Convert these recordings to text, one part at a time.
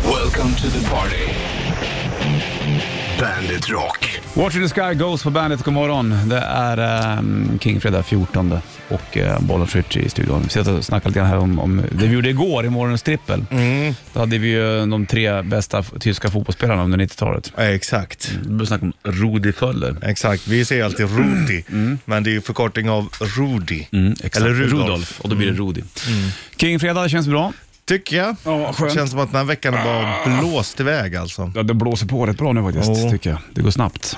Welcome to the party. Bandit Rock. Watch in the sky goes på bandet, god morgon. Det är um, Kingfredag 14 och uh, Bollnäs Ritchie i studion. Vi satt och snackade lite grann här om, om det vi gjorde igår i morgonens trippel. Då hade vi ju de tre bästa f- tyska fotbollsspelarna under 90-talet. Ja, Eh, Exakt, Vi började snacka om Rudi Völler. exakt. Vi säger alltid Rudi, Mm. men det är ju förkortning av Rudi. Exakt. Eller Rudolf. Rudolf. Mm. Och då blir det Rudi. Kingfredag känns bra. Tycker jag. Ja, skönt. Känns som att den här veckan har bara blåst iväg alltså. Ja, det blåser på rätt bra nu faktiskt, Ja. tycker jag. Det går snabbt.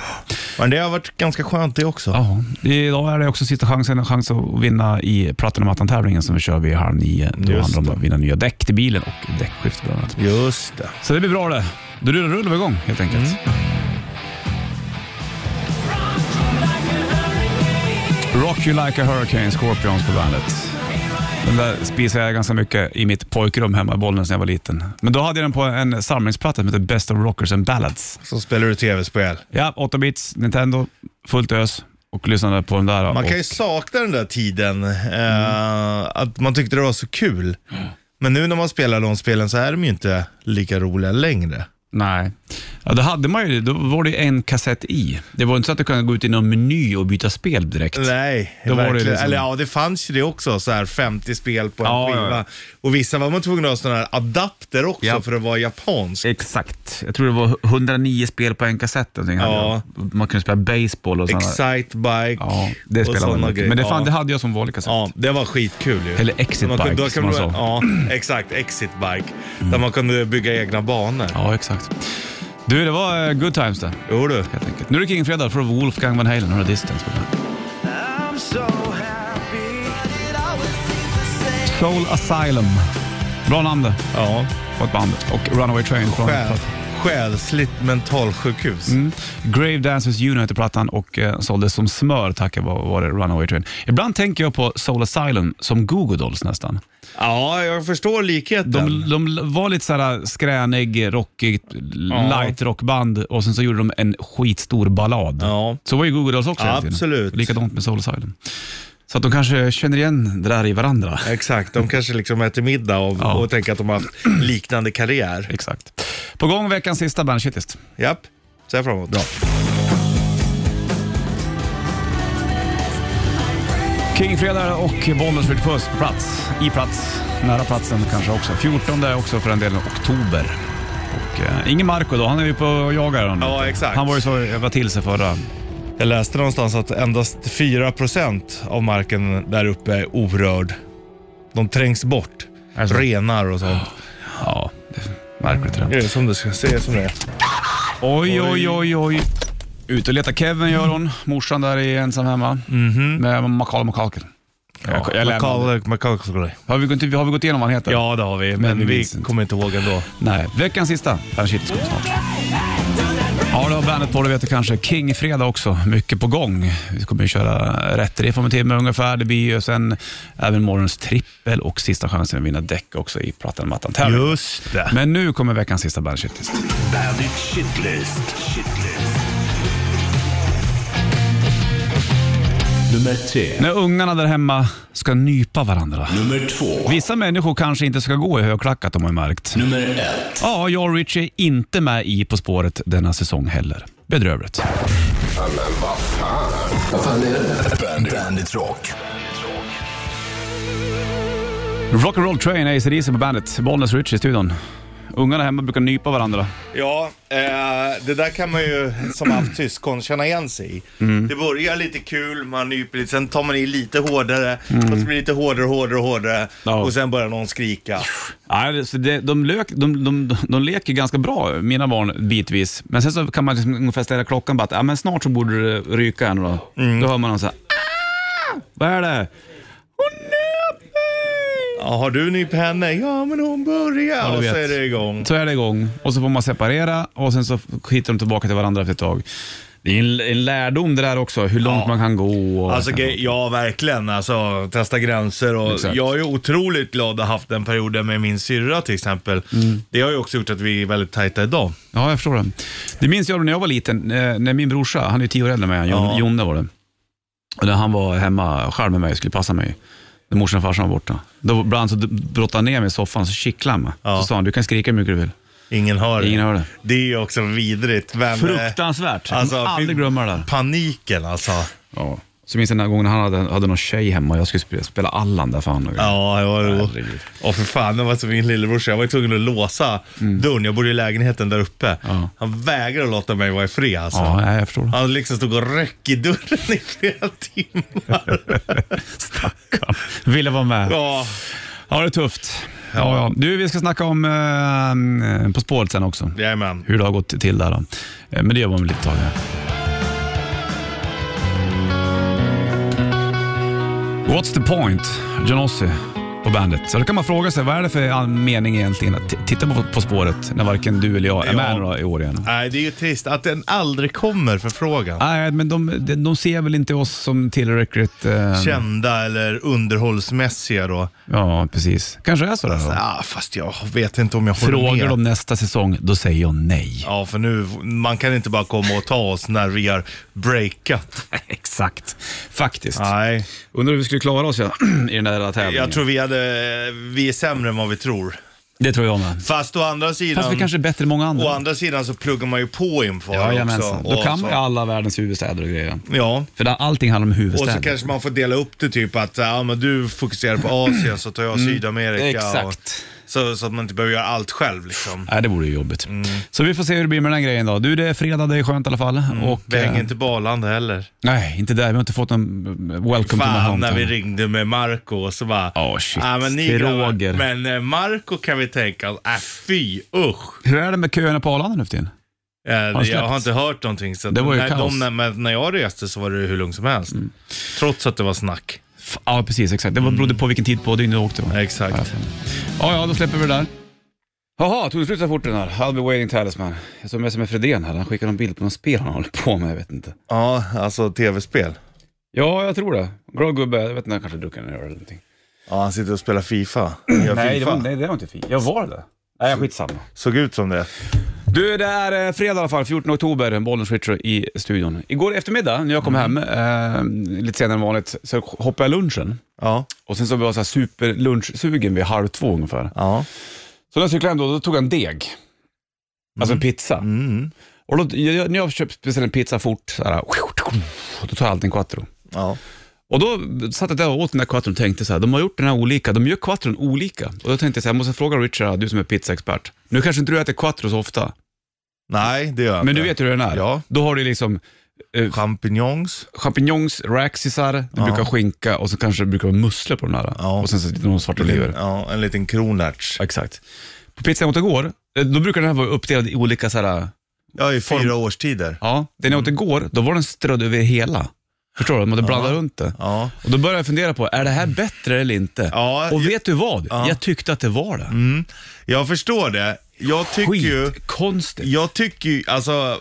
Men det har varit ganska skönt det också. Ja, idag är det också sista chansen, en chans att vinna i Platinum-tävlingen som vi kör vid halv nio. Då Just handlar det om att vinna nya däck till bilen och däckskift bland annat. Just det. Så det blir bra det. Då rullar rullar vi igång helt enkelt. Rock you like a hurricane, Scorpions på bandet. Den där spisade jag ganska mycket i mitt pojkrum hemma i Bollnäs när jag var liten. Men då hade jag den på en samlingsplatta som heter Best of Rockers and Ballads. Så spelar du tv-spel. Ja, 8-bits, Nintendo, fullt ös och lyssnade på den där. Man och, kan ju sakna den där tiden, eh, att man tyckte det var så kul. Men nu när man spelar de spelen så är de ju inte lika roliga längre. Nej. Ja, då hade man ju det. Då var det ju en kassett i. Det var inte så att du kunde gå ut i någon meny och byta spel direkt. Nej, Då var det verkligen. liksom- Eller ja, det fanns ju det också, så här 50 spel på en Ja, ja, skiva. ja. Och vissa var man tvungen att ha sådana här adapter också Ja. för att vara japansk. Exakt. Jag tror det var 109 spel på en kassett. Ja. Ja. Man kunde spela baseball och sådana. Excitebike Ja, det och spelade man sådana mycket. grejer. Men det, fan, ja. det hade jag som vanlig kassett. Ja, det var skitkul ju. Eller Exit Man kunde- Bike, då som kunde man Mm. Ja, exakt. Exit Bike. Där man kunde bygga egna banor. Ja, exakt. Du, det var eh, good times det, Jo du. helt enkelt. Nu är det King-fredag från Wolfgang Van Halen, några distance på bandet. I'm so happy. Soul Asylum. Bra namn det, Ja. på ett band. Och Runaway Train från... Själ, själsligt mentalsjukhus. Mm. Grave Dancers Unite plattan och eh, såldes som smör tack vare Runaway Train. Ibland tänker jag på Soul Asylum som Google Dolls nästan. Ja, jag förstår likheten. De, de var lite såhär skränig, rockigt, light rockband och sen så gjorde de en skitstor ballad. Ja. Så var ju Google Dolls också hela tiden. Absolut. Likadant med Soul Asylum. Så att de kanske känner igen det där i varandra. Exakt, de kanske liksom äter middag och, Ja. och tänker att de har haft liknande karriär. Exakt. På gång veckans sista bandshitlist. Japp, ser jag fram emot. Bra. Kingfredag och Bollnäs Ritchie Puss på plats. I plats. Nära platsen kanske också. 14 också för en del oktober. Och eh, ingen Marco då, han är ju på och jagar. honom. Ja, exakt. Han var ju så över till sig förra. Jag läste någonstans att endast 4% av marken där uppe är orörd. De trängs bort. Alltså. Renar och sånt. Ja, det är märkligt det Det där. är som det ska se som det är. Oj, oj, oj, oj. Ut och leta Kevin gör hon. Morsan där är ensam hemma. Med Macaulay Macalken. Jag, jag lämnar. Mhm. Macaulay- Macaulay. Har vi, gått, har vi gått igenom vad han heter? Ja, det har vi, men, Men vi vi minns inte. kommer inte ihåg ändå. Nej, veckans sista. Bandshitlist kommer snart. Ja, det har bandet på, det vet du kanske. Kingfredag också, mycket på gång. Vi kommer ju köra rätt riff om en timme ungefär. Det blir ju sen även morgons trippel och sista chansen att vinna däck också i plattan mattan tävling. Just det. Men nu kommer veckans sista bandshitlist. Bandit Shitlist. Shitlist. Nummer tre. När ungarna där hemma ska nypa varandra. Nummer två. Vissa människor kanske inte ska gå i högklackat om man märkt. Nummer ett. Ja, jag och Richie är inte med i På spåret denna säsong heller. Bedrövligt. Bandit, Bandit Rock. Rock'n'Roll Train, AC/DC på bandet. Bollnäs och Richie i studion. Ungarna hemma brukar nypa varandra. Ja, eh, det där kan man ju som haft syskon känna igen sig i. Mm. Det börjar lite kul, man nyper lite, sen tar man i lite hårdare, och så blir det lite hårdare, hårdare, hårdare. Mm. Ja. Och sen börjar någon skrika. Nej, så det, de, lök, de, de, de leker ganska bra, mina barn, bitvis. Men sen så kan man liksom ungefär ställa klockan bara att ja, men snart så borde det ryka en då. Mm. Då hör man någon så här, "Ah, Vad är det? Hon nöp mig! Ja, har du nyp henne? Ja, men hon börjar. du och så vet. är det igång. Så är det igång och så får man separera och sen så hittar de tillbaka till varandra efter ett tag. Det är en, en lärdom det där också, hur långt Ja. man kan gå. Och Alltså, ge- ja, verkligen. Alltså, testa gränser. Och Exakt. jag är ju otroligt glad att ha haft den perioden med min syrra till exempel. Mm. Det har ju också gjort att vi är väldigt tajta idag. Ja, jag förstår det. Det minns jag när jag var liten, eh, när min brorsa, han är ju tio år äldre än mig, Jon, Ja. Jonne var det. Och när han var hemma själv med mig och skulle passa mig, när morsan och farsan var borta. Då ibland så brottade han ner mig i soffan så kittlade han mig. Ja. Så sa han, du kan skrika hur mycket du vill. Ingen hör det. Ingen hör det. Det är ju också vidrigt. Men, eh, Fruktansvärt. Jag kommer aldrig Alltså, fy- glömma det där. Paniken alltså. Ja. Så minns jag den här gången han hade, hade någon tjej hemma och jag skulle spela, spela Allan där för han. Ja, ja, ja. Herregud. Och för fan, det var som min lillebrorsa. Jag var ju tvungen att låsa dörren. Jag bodde i lägenheten där uppe. Mm. Ja. Han vägrade låta mig vara i fred alltså. Ja, nej, jag förstår. Han liksom stod och röck i dörren i flera timmar. Stackarn. Ville vara med. ja. Ja, det är tufft. Ja, ja. Du, vi ska snacka om eh, På spåret sen också. Jajamän. Hur det har gått till där då. Eh, Men det gör man väl lite tag här. What's the point? Genossi på bandet. Så då kan man fråga sig, vad är det för an- mening egentligen att t- titta på På spåret när varken du eller jag är med Ja. några i år igen? Nej, det är ju trist att den aldrig kommer för frågan. Nej, men de, de, de ser väl inte oss som tillräckligt... Eh, Kända eller underhållsmässiga då. ja, precis. Kanske är så där då. Ja, fast jag vet inte om jag håller Frågar med. de nästa säsong, då säger jag nej. Ja, för nu, man kan inte bara komma och ta oss när vi har breakat. Exakt. Faktiskt. Nej, Undrar hur vi skulle klara oss ja, i den där tävlingen. jag tror vi, hade, vi är sämre än vad vi tror. Det tror jag med. Fast å andra sidan, Fast vi kanske är bättre än många å andra. Ehm, andra sidan så pluggar man ju på inför också. Jajamensan. Då Och kan så- man ju alla världens huvudstäder och grejer. Ja. För där, allting handlar om Och huvudstäder. så kanske man får dela upp det typ att ja, men du fokuserar på Asien så tar jag Sydamerika. Mm. Exakt. Och, så, så att man inte behöver göra allt själv liksom. Nej, det vore ju jobbigt. Så vi får se hur det blir med den här grejen då. Du, det är fredag, det är skönt i alla fall. Och, Mm. Vi hänger eh, inte på Arlanda heller. Nej, inte där. Vi har inte fått någon eh, welcome to my Fan när hometown. vi ringde med Marco och så bara, Ja, shit. "Ah, men ni Till grabbar, Roger." Men eh, Marco kan vi tänka oss, äh, fy usch. Hur är det med köerna på Arlanda nu för tiden? Eh, han jag släppt? har inte hört någonting. Så att Det var ju när, kaos. Mm. de, när, men när jag reste så var det hur lugnt som helst. Trots att det var snack. F- Ja, precis. Exakt. Det var- berodde på vilken tid på dygnet du åkte. va? Exakt. Ja, ja, då släpper vi det där. Jaha, tog det slut så fort den här? I'll be waiting talisman. Jag såg med som med Fredén här. Han skickade en bild på något spel han håller på med. Jag vet inte. Ja, alltså tv-spel. Ja, jag tror det. Glad gubbe. Jag vet inte, han kanske druckit en öl eller någonting. Ja, han sitter och spelar Fifa. Jag Nej, det FIFA. var, nej, det var inte fint. Jag var det. Nej, skitsamma. Såg ut som det. Du, det är eh, fredag i alla fall, 14 oktober, Bollnäs Ritcher i studion. Igår eftermiddag när jag kom hem, eh, lite senare än vanligt, så hoppade jag lunchen. Ja. Och sen så var jag så här superlunchsugen vid halv två ungefär. ja. Så när jag cyklade hem då, då tog jag en deg. Alltså en pizza. Mm. Och då, jag, jag- när jag köpt, beställer en pizza fort, så här, då tar jag alltid en quattro. Ja. Och då satt jag där och åt den där quattron och tänkte så här, de har gjort den här olika, de gör quattron olika. Och då tänkte jag så här, jag måste fråga Richard, du som är pizzaexpert. Nu kanske inte du äter quattro så ofta, Nej, det gör jag men inte. du vet hur den är. Ja. Då har du liksom Champignons. champignons, raxisar, det brukar skinka och så kanske det brukar vara musslor på de här. Ja. Mm. Och sen så lite någon svarta oliver. Ja, en liten kronärts. Exakt. På pizzan jag åt igår, eh, då brukar den här vara uppdelad i olika så här, Ja, i fyra årstider. ja, den jag åt Mm. igår, då var den strödd över hela. Förstår du? De hade blandat runt det. Ja. Och då började jag fundera på, är det här bättre eller inte? Ja, och jag- vet du vad? Jag tyckte att det var det. Jag förstår det. Jag tycker ju... Skitkonstigt. Jag tycker ju, alltså,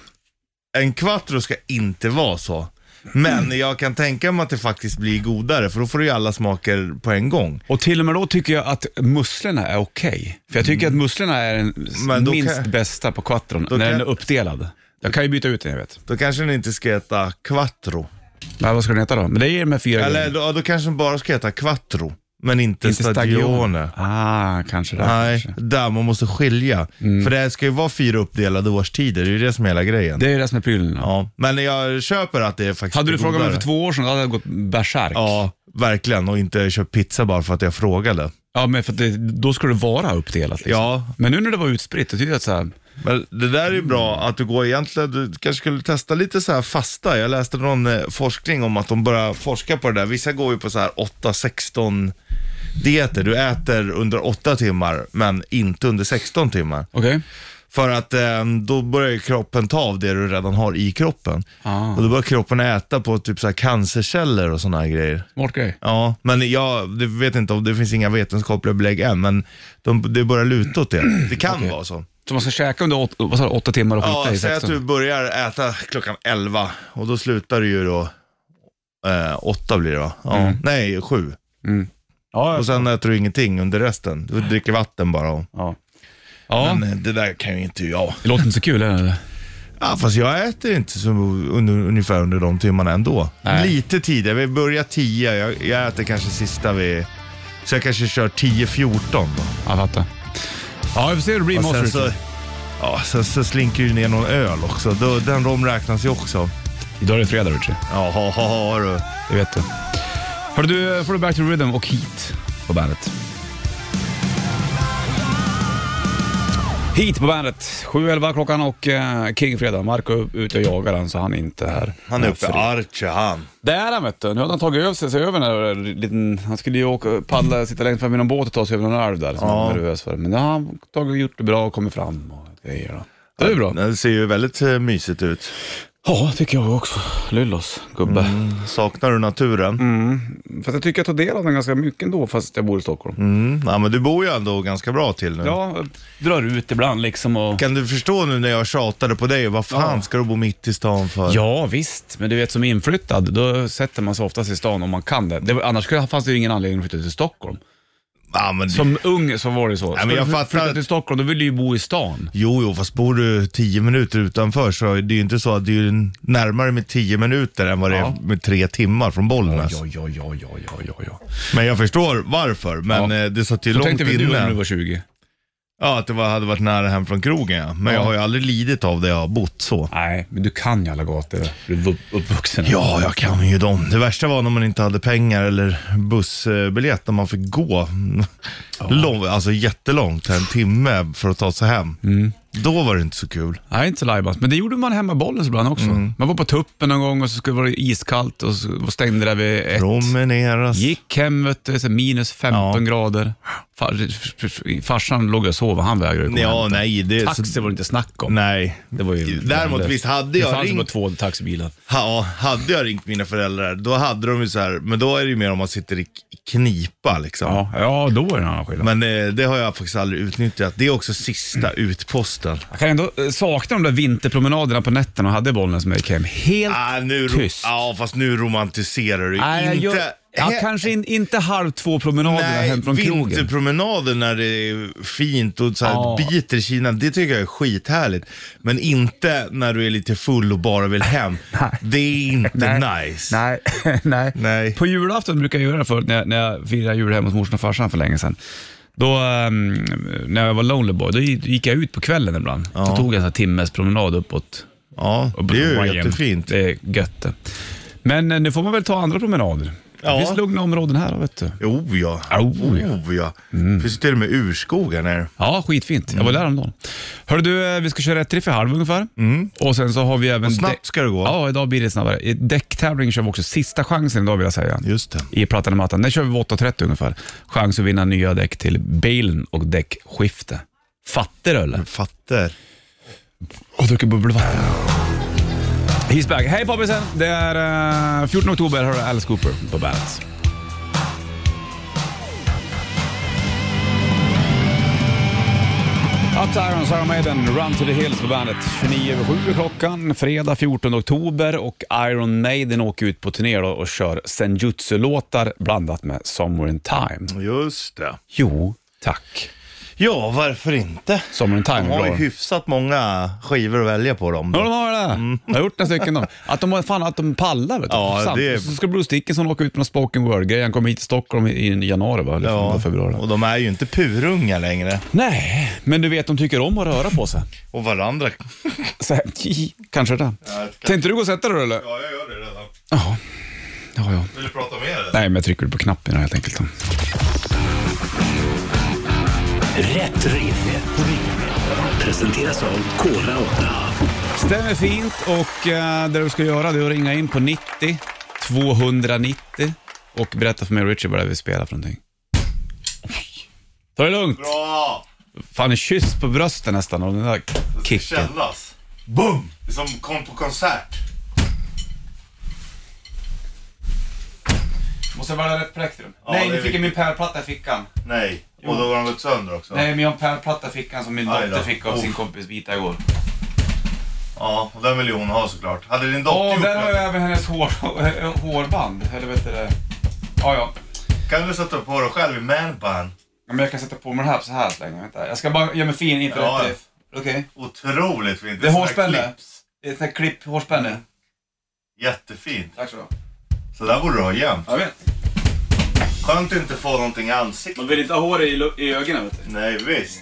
en quattro ska inte vara så. Men jag kan tänka mig att det faktiskt blir godare, för då får du ju alla smaker på en gång. Och till och med då tycker jag att musslorna är okej. För jag tycker att musslorna är den s- Mm. Men då minst kan- bästa på quattron, när kan- den är uppdelad. Jag kan ju byta ut den, jag vet. Då kanske den inte ska heta quattro. Men vad ska den heta då? Men det är de här fyra Eller grejerna. då, då kanske den bara ska heta quattro, men inte, stagione. Ah, kanske det. Nej, Kanske. där man måste skilja. För det här ska ju vara fyra uppdelade årstider, det är ju det som är hela grejen. Det är det som är prylen. Ja, men jag köper att det är faktiskt Hade du godare. frågat mig för två år sedan, då hade jag gått bärsärk. Ja, verkligen. Och inte köpt pizza bara för att jag frågade. Ja, men för att det, då skulle det vara uppdelat. Liksom. Ja, Men nu när det var utspritt, då tyckte jag att så här, Men det där är ju bra Mm. att du går egentligen, du kanske skulle testa lite så här fasta. Jag läste någon eh, forskning om att de börjar forska på det där. Vissa går ju på så här 8-16 dieter. Du äter under 8 timmar men inte under 16 timmar. okej. För att eh, då börjar ju kroppen ta av det du redan har i kroppen. Ah. Och då börjar kroppen äta på typ så här cancerceller och sådana här grejer. Smart grej. Ja, men jag det vet inte om det finns inga vetenskapliga belägg än, men de, det börjar luta åt det. Det kan vara så. Så man ska käka under åt, vad sa du, åtta timmar och skita Ja, i säg att 16? du börjar äta klockan 11 och då slutar du ju då eh, 8 blir det va? Ja. Nej, 7. Mm. Ja, Och sen äter du ingenting under resten. Du dricker vatten bara. Och... ja. ja. Men eh, det där kan ju inte jag. det låter inte så kul eller? Ja, fast jag äter inte så under, ungefär under de timmarna ändå. Nej. Lite tidigare, vi börjar 10. Jag, jag äter kanske sista vid... Så jag kanske kör 10-14 då. Jag fattar. Ja, vi får se hur det blir med Och oss. sen så Richard. Ja, sen så slinker ju ner någon öl också. Då, den romräknas ju också. Idag är det fredag Richie. Jaha, haha, du. Det vet du. Hör du, får du Back to Rhythm och Heat på bandet. Heat på bandet. 7.11 klockan och eh, King Fredag. Marco är ute och jagar han, så han är inte här. Han är uppe i Fri- Arche han. Det är han vet du. Nu har han tagit över sig, sig över den där liten... Han skulle ju åka, paddla, sitta längst fram i någon båt och ta sig över någon älv där som han var nervös för. Men det har han tagit och gjort det bra och kommit fram och grejer då. Det är ju bra. Den ser ju väldigt eh, mysigt ut. Ja, tycker jag också. Lyllos, gubbe. Mm. Saknar du naturen? Mm. Fast jag tycker jag tar del av den ganska mycket ändå, fast jag bor i Stockholm. Mm. Ja, men du bor ju ändå ganska bra till nu. Ja, drar ut ibland liksom och... Kan du förstå nu när jag tjatade på dig? Vad fan ska du bo mitt i stan för? Ja visst, men du vet som inflyttad, då sätter man sig oftast i stan om man kan det. det var- annars skulle- fanns det ju ingen anledning att flytta till Stockholm. Ja, men det- Som ung så var det så. men jag Skulle du fattar flytta att- till Stockholm, då vill du ju bo i stan. Jo, jo, fast bor du 10 minuter utanför så är det ju inte så att det är ju närmare med 10 minuter än vad det Ja. är med tre timmar från Bollnäs. Ja, ja, ja, ja, ja, ja, ja. Men jag förstår varför, men Ja. eh, det satt ju Så långt tänkte vi du när du inne. var 20. Ja, att det var, hade varit nära hem från krogen ja. Men Ja. jag har ju aldrig lidit av det jag har bott så. Nej, men du kan ju alla gator. Du är vup- uppvuxen. Ja, jag kan ju dem. Det värsta var när man inte hade pengar eller bussbiljett, när man fick gå lång, alltså jättelångt, en timme för att ta sig hem. Då var det inte så kul. Nej, inte så lajbans. Men det gjorde man hemma i Bollnäs ibland också. Mm. Man var på tuppen någon gång och så skulle det vara iskallt och så stängde det där vid ett. Promeneras. Gick hem, vet du, så minus 15 Ja. grader. Far, farsan låg och sov och han vägrade komma Ja, hem. nej. Det, så, Taxi var det inte snack om. nej. Det var ju, Däremot, det, visst hade jag Det fanns ringt- bara två taxibilar. Ha, ja, hade jag ringt mina föräldrar, då hade de ju så här, men då är det ju mer om man sitter i i knipa liksom. Ja, ja, då är det en annan skillnad. Men eh, det har jag faktiskt aldrig utnyttjat. Det är också sista utposten. jag kan ändå eh, sakna de där vinterpromenaderna på nätterna och hade bollen som jag gick hem. Helt Ah, nu ro- tyst. Ja, fast nu romantiserar du. Nej, jag inte... gör, ja, He- kanske in, inte halv två promenaderna hem från krogen. vinterpromenaden när det är fint och så här Ja. biter i Kina, det tycker jag är skithärligt. Men inte när du är lite full och bara vill hem. det är inte nice. Nej, nej. Nej. På julafton brukar jag göra det förut när jag, när jag firade jul hemma hos morsan och farsan för länge sedan. Då, ehm, när jag var lonely boy, då gick jag ut på kvällen ibland. Så tog jag en sån här timmes promenad uppåt. Ja, uppåt det är ju Hawaii. jättefint. Det är gött det. Men eh, nu får man väl ta andra promenader. Ja. Det finns lugna områden här, vet du. Oh ja. Oh, ja. Oh, ja. Finns det till och med urskogar här. Ja, skitfint. Jag var där häromdagen. Hörru du, eh, vi ska köra ett triff i halv ungefär. Och sen så har vi även... Mm. Snabbt ska det gå. Ja, idag blir det snabbare. I Däcktävling kör vi också. Sista chansen idag vill jag säga. Just det. I Plattan i mattan. Den kör vi vid 8.30 ungefär. Chans att vinna nya däck till bilen och däckskifte. Fattar du eller? Fattar. Och dricker bubbelvatten. He's back. Hej poppisen! Det är eh, 14 oktober. Hör du Alice Cooper på bandet. Up to Irons, Iron Maiden, Run to the Hills på bandet. 29 över 7 klockan, fredag 14 oktober och Iron Maiden åker ut på turné då och kör senjutsu-låtar blandat med Somewhere in Time. Just det. Jo, tack. Ja, varför inte? Somewhere in Time De är har ju bra. hyfsat många skivor att välja på dem. Ja, de har det. Jag har gjort några stycken. då. Att de, har- fan, att de pallar. Vet du. Mm. Ja, Sant. det är- Och Så ska Bruce Dickinson åka ut med någon spoken word-grej. Han kommer hit till Stockholm i, i januari, va? eller Ja, februari. och de är ju inte purunga längre. Nej, men du vet, de tycker om att röra på sig. Och varandra. Så här, kanske det. Tänkte du gå och sätta dig då, eller? Ja, jag gör det redan. Ja, ja. Vill du prata med dig? Nej, men jag trycker på knappen helt enkelt. Rätt riff. Rätt riff. Presenteras av Kora 8. Stämmer fint och eh, det du ska göra det är att ringa in på 90 290 och berätta för mig och Richard vad det är vi spelar för någonting. Ta det lugnt. Bra! Fan, en kyss på brösten nästan av den där kicken. Källas. Boom! Det är som Liksom kom på konsert. Måste jag välja rätt plektrum? Ja, Nej, det nu är fick jag viktigt. min pärlplatta i fickan. Nej, och då var de gått sönder också. Nej, men jag har en pärlplatta i fickan som min Aj då. dotter fick av Oh. sin kompis Vita igår. Ja, och den vill ju hon ha såklart. Hade din dotter Åh, gjort där det? har jag även hennes hår, hårband. Eller vet du det? Ja, ja. Kan du sätta på dig själv i manbun? Ja, Men jag kan sätta på mig den här så här så länge. Vänta. Jag ska bara göra mig fin inför Ja, rätt ja. riff. Okej? Otroligt fint. Det är sådana här hårspänne. clips. Det är ett sånt här klipp, hårspänne. Jättefint. Tack så du Så där borde du ha jämt. Jag vet. Skönt att inte få någonting i ansiktet. Man vill inte ha hår i, i ögonen vet du. Nej, visst.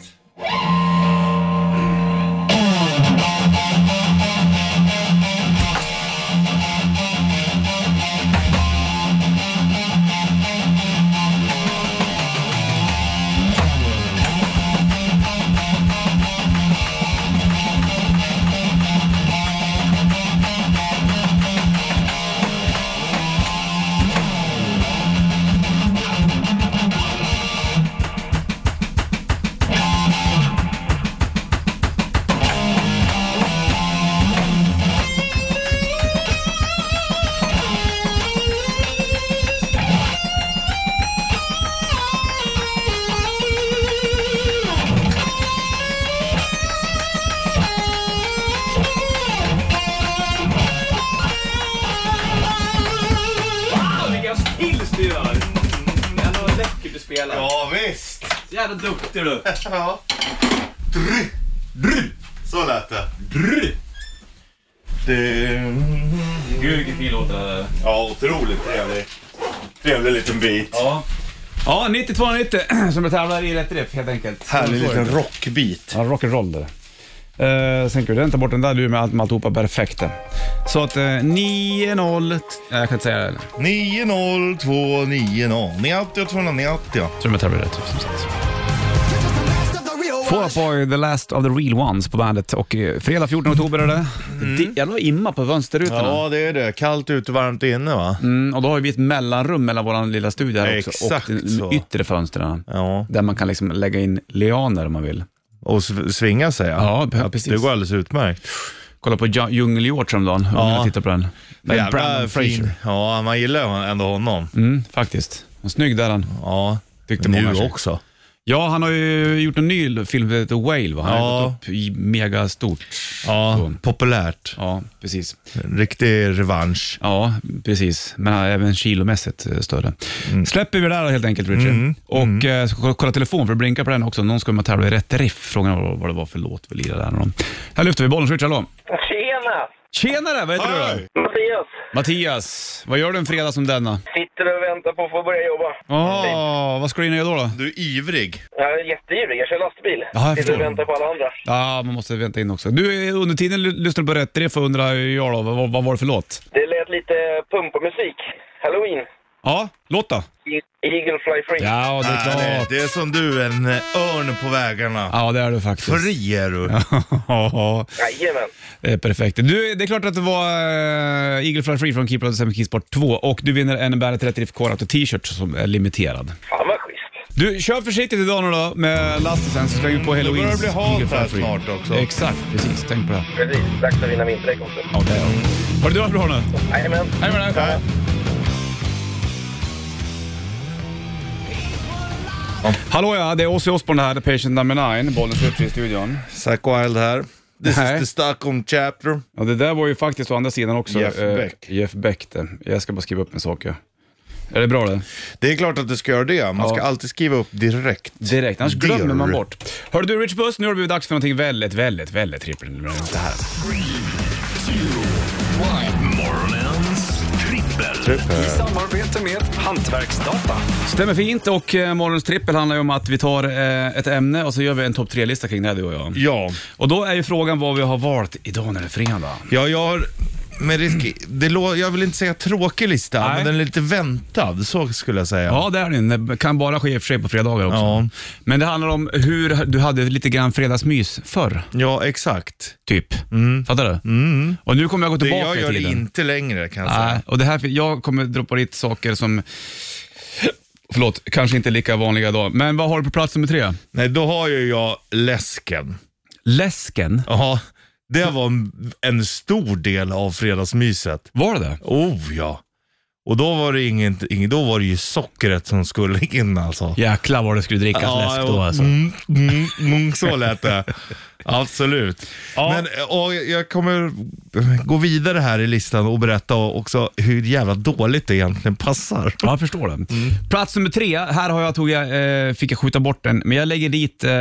Jävla duktig du. Ja. Dry. Dry. Så lät det. Dry. Det... Gud vilken fin låt det här är. Ja, otroligt trevlig. Trevlig liten bit. Ja. Ja, 9290 som jag tävlar i Rätt Riff helt enkelt. Härlig liten rockbit. Ja, rock'n'roll det där. Eh, sen kan du inte bort den där du med allt med alltihopa perfekt. där. Så att eh, 9-0... t- Nej, jag kan inte säga det. 90290. 90 290. Tror jag tävlar rätt som sagt. Fall Out Boy, The Last of the Real Ones på bandet och eh, fredag 14 oktober är det. Mm. Jävlar vad imma på fönsterrutorna. Ja, det är det. Kallt ute, varmt inne va? Mm, och då har vi ett mellanrum mellan vår lilla studio här också Exakt och så. de yttre fönstren. Ja, Där man kan liksom lägga in lianer om man vill. och sv- svinga sig Ja, p- precis. Det går alldeles utmärkt. Kolla på Ja- Djungelhjort häromdagen. Ja. Jag tittar på den. Med Jävla Brandon fin. Fraser. Ja, man gillar ju ändå honom. Mm, faktiskt. Han är Snygg där han. Ja, Tyckte nu många sig. också. Ja, han har ju gjort en ny film, som heter Whale va? Han har Ja. gått upp i mega stort. Ja, Så. populärt. Ja, precis. Riktig revansch. Ja, precis. Men han är även kilomässigt eh, större. Mm. Släpper vi det där helt enkelt, Richard. Och eh, ska kolla- kolla telefon, för det blinkar på den också. Någon ska med och tävla i rätt riff. Frågan var vad det var för låt vi lirade där. med dem. Här lyfter vi bollen, Richard. Hallå. Tjena! Tjenare, vad heter du? Hej. då? Mattias! Mattias, vad gör du en fredag som denna? Sitter och väntar på att få börja jobba. Åh, vad ska du in och göra då? då? Du är ivrig. Jag är jätteyvig, jag kör lastbil. Ja, jag Sitter förstår. och väntar på alla andra. Ja, man måste vänta in också. Du, eh, under tiden l- lyssnar du på rätt riff och undrar jag då, vad, vad var det för låt? Det lät lite pumpa-musik. Halloween. Ja, låt då? E- Eagle Fly Free. Ja, det är Härligt. klart. Ah, Det är som du, en eh, örn på vägarna. Ja, det är du faktiskt. Fri är du. Ja, Jajamän. det är perfekt. Du, det är klart att det var eh, Eagle Fly Free från Keep Love Seven Kings Part 2 och du vinner en Bandet Rätt Riff Core Auto T-shirt som är limiterad. Fan vad schysst. Du, kör försiktigt idag nu då med lasten sen så slänger vi på Mm, då Halloweens börjar det bli halt Eagle Fly här Free. snart också. Exakt, precis. Tänk på det. Precis, dags att vinna vinterdäck också. Ja, det är det. Har du det bra nu? Jajamän. Hej med dig. Hallå ja, det är Ozzy Osbourne här, The Patient Number 9, Bollnäs Ritchie i studion. Zack Wilde här. This Nej. is the Stockholm chapter. Ja, det där var ju faktiskt å andra sidan också Jeff eh, Beck. Jeff Beck det. Jag ska bara skriva upp en sak. Ja. Är det bra det? Det är klart att du ska göra det. Man ska Ja. alltid skriva upp direkt. Direkt, annars Dear. glömmer man bort. Hör du Rich Buss, nu har det blivit dags för någonting väldigt, väldigt, väldigt trippelnummerigt. Det här. Morgonens trippel. I samarbete med Hantverksdata. Stämmer fint och eh, morgonens trippel handlar ju om att vi tar eh, ett ämne och så gör vi en topp tre-lista kring det, här, du och jag. Ja. Och då är ju frågan vad vi har valt idag när det är fredag. ja, jag har... Med risk, det lå, jag vill inte säga tråkig lista, Nej. men den är lite väntad. Så skulle jag säga. Ja, det är den. Det kan bara ske i och för sig på fredagar också. Ja. Men det handlar om hur du hade lite grann fredagsmys förr, Ja, exakt. typ. Fattar du? Och nu kommer jag gå Mm. Det tillbaka jag i gör tiden. inte längre kan jag Nej, säga. och det här, jag kommer droppa dit saker som, förlåt, kanske inte är lika vanliga idag. Men vad har du på plats nummer tre? Nej, då har ju jag läsken. Läsken. Ja, det var en- en stor del av fredagsmyset. Var det det? Oh ja. Och då var det, inget, ing- då var det ju sockret som skulle in alltså. Jäklar vad du skulle dricka läsk då och- alltså. mm, mm, mm, så lät det. Absolut. Men, och jag kommer gå vidare här i listan och berätta också hur jävla dåligt det egentligen passar. Ja, jag förstår det. Plats nummer tre, här har jag, tog jag, eh, fick jag skjuta bort den, men jag lägger dit, eh,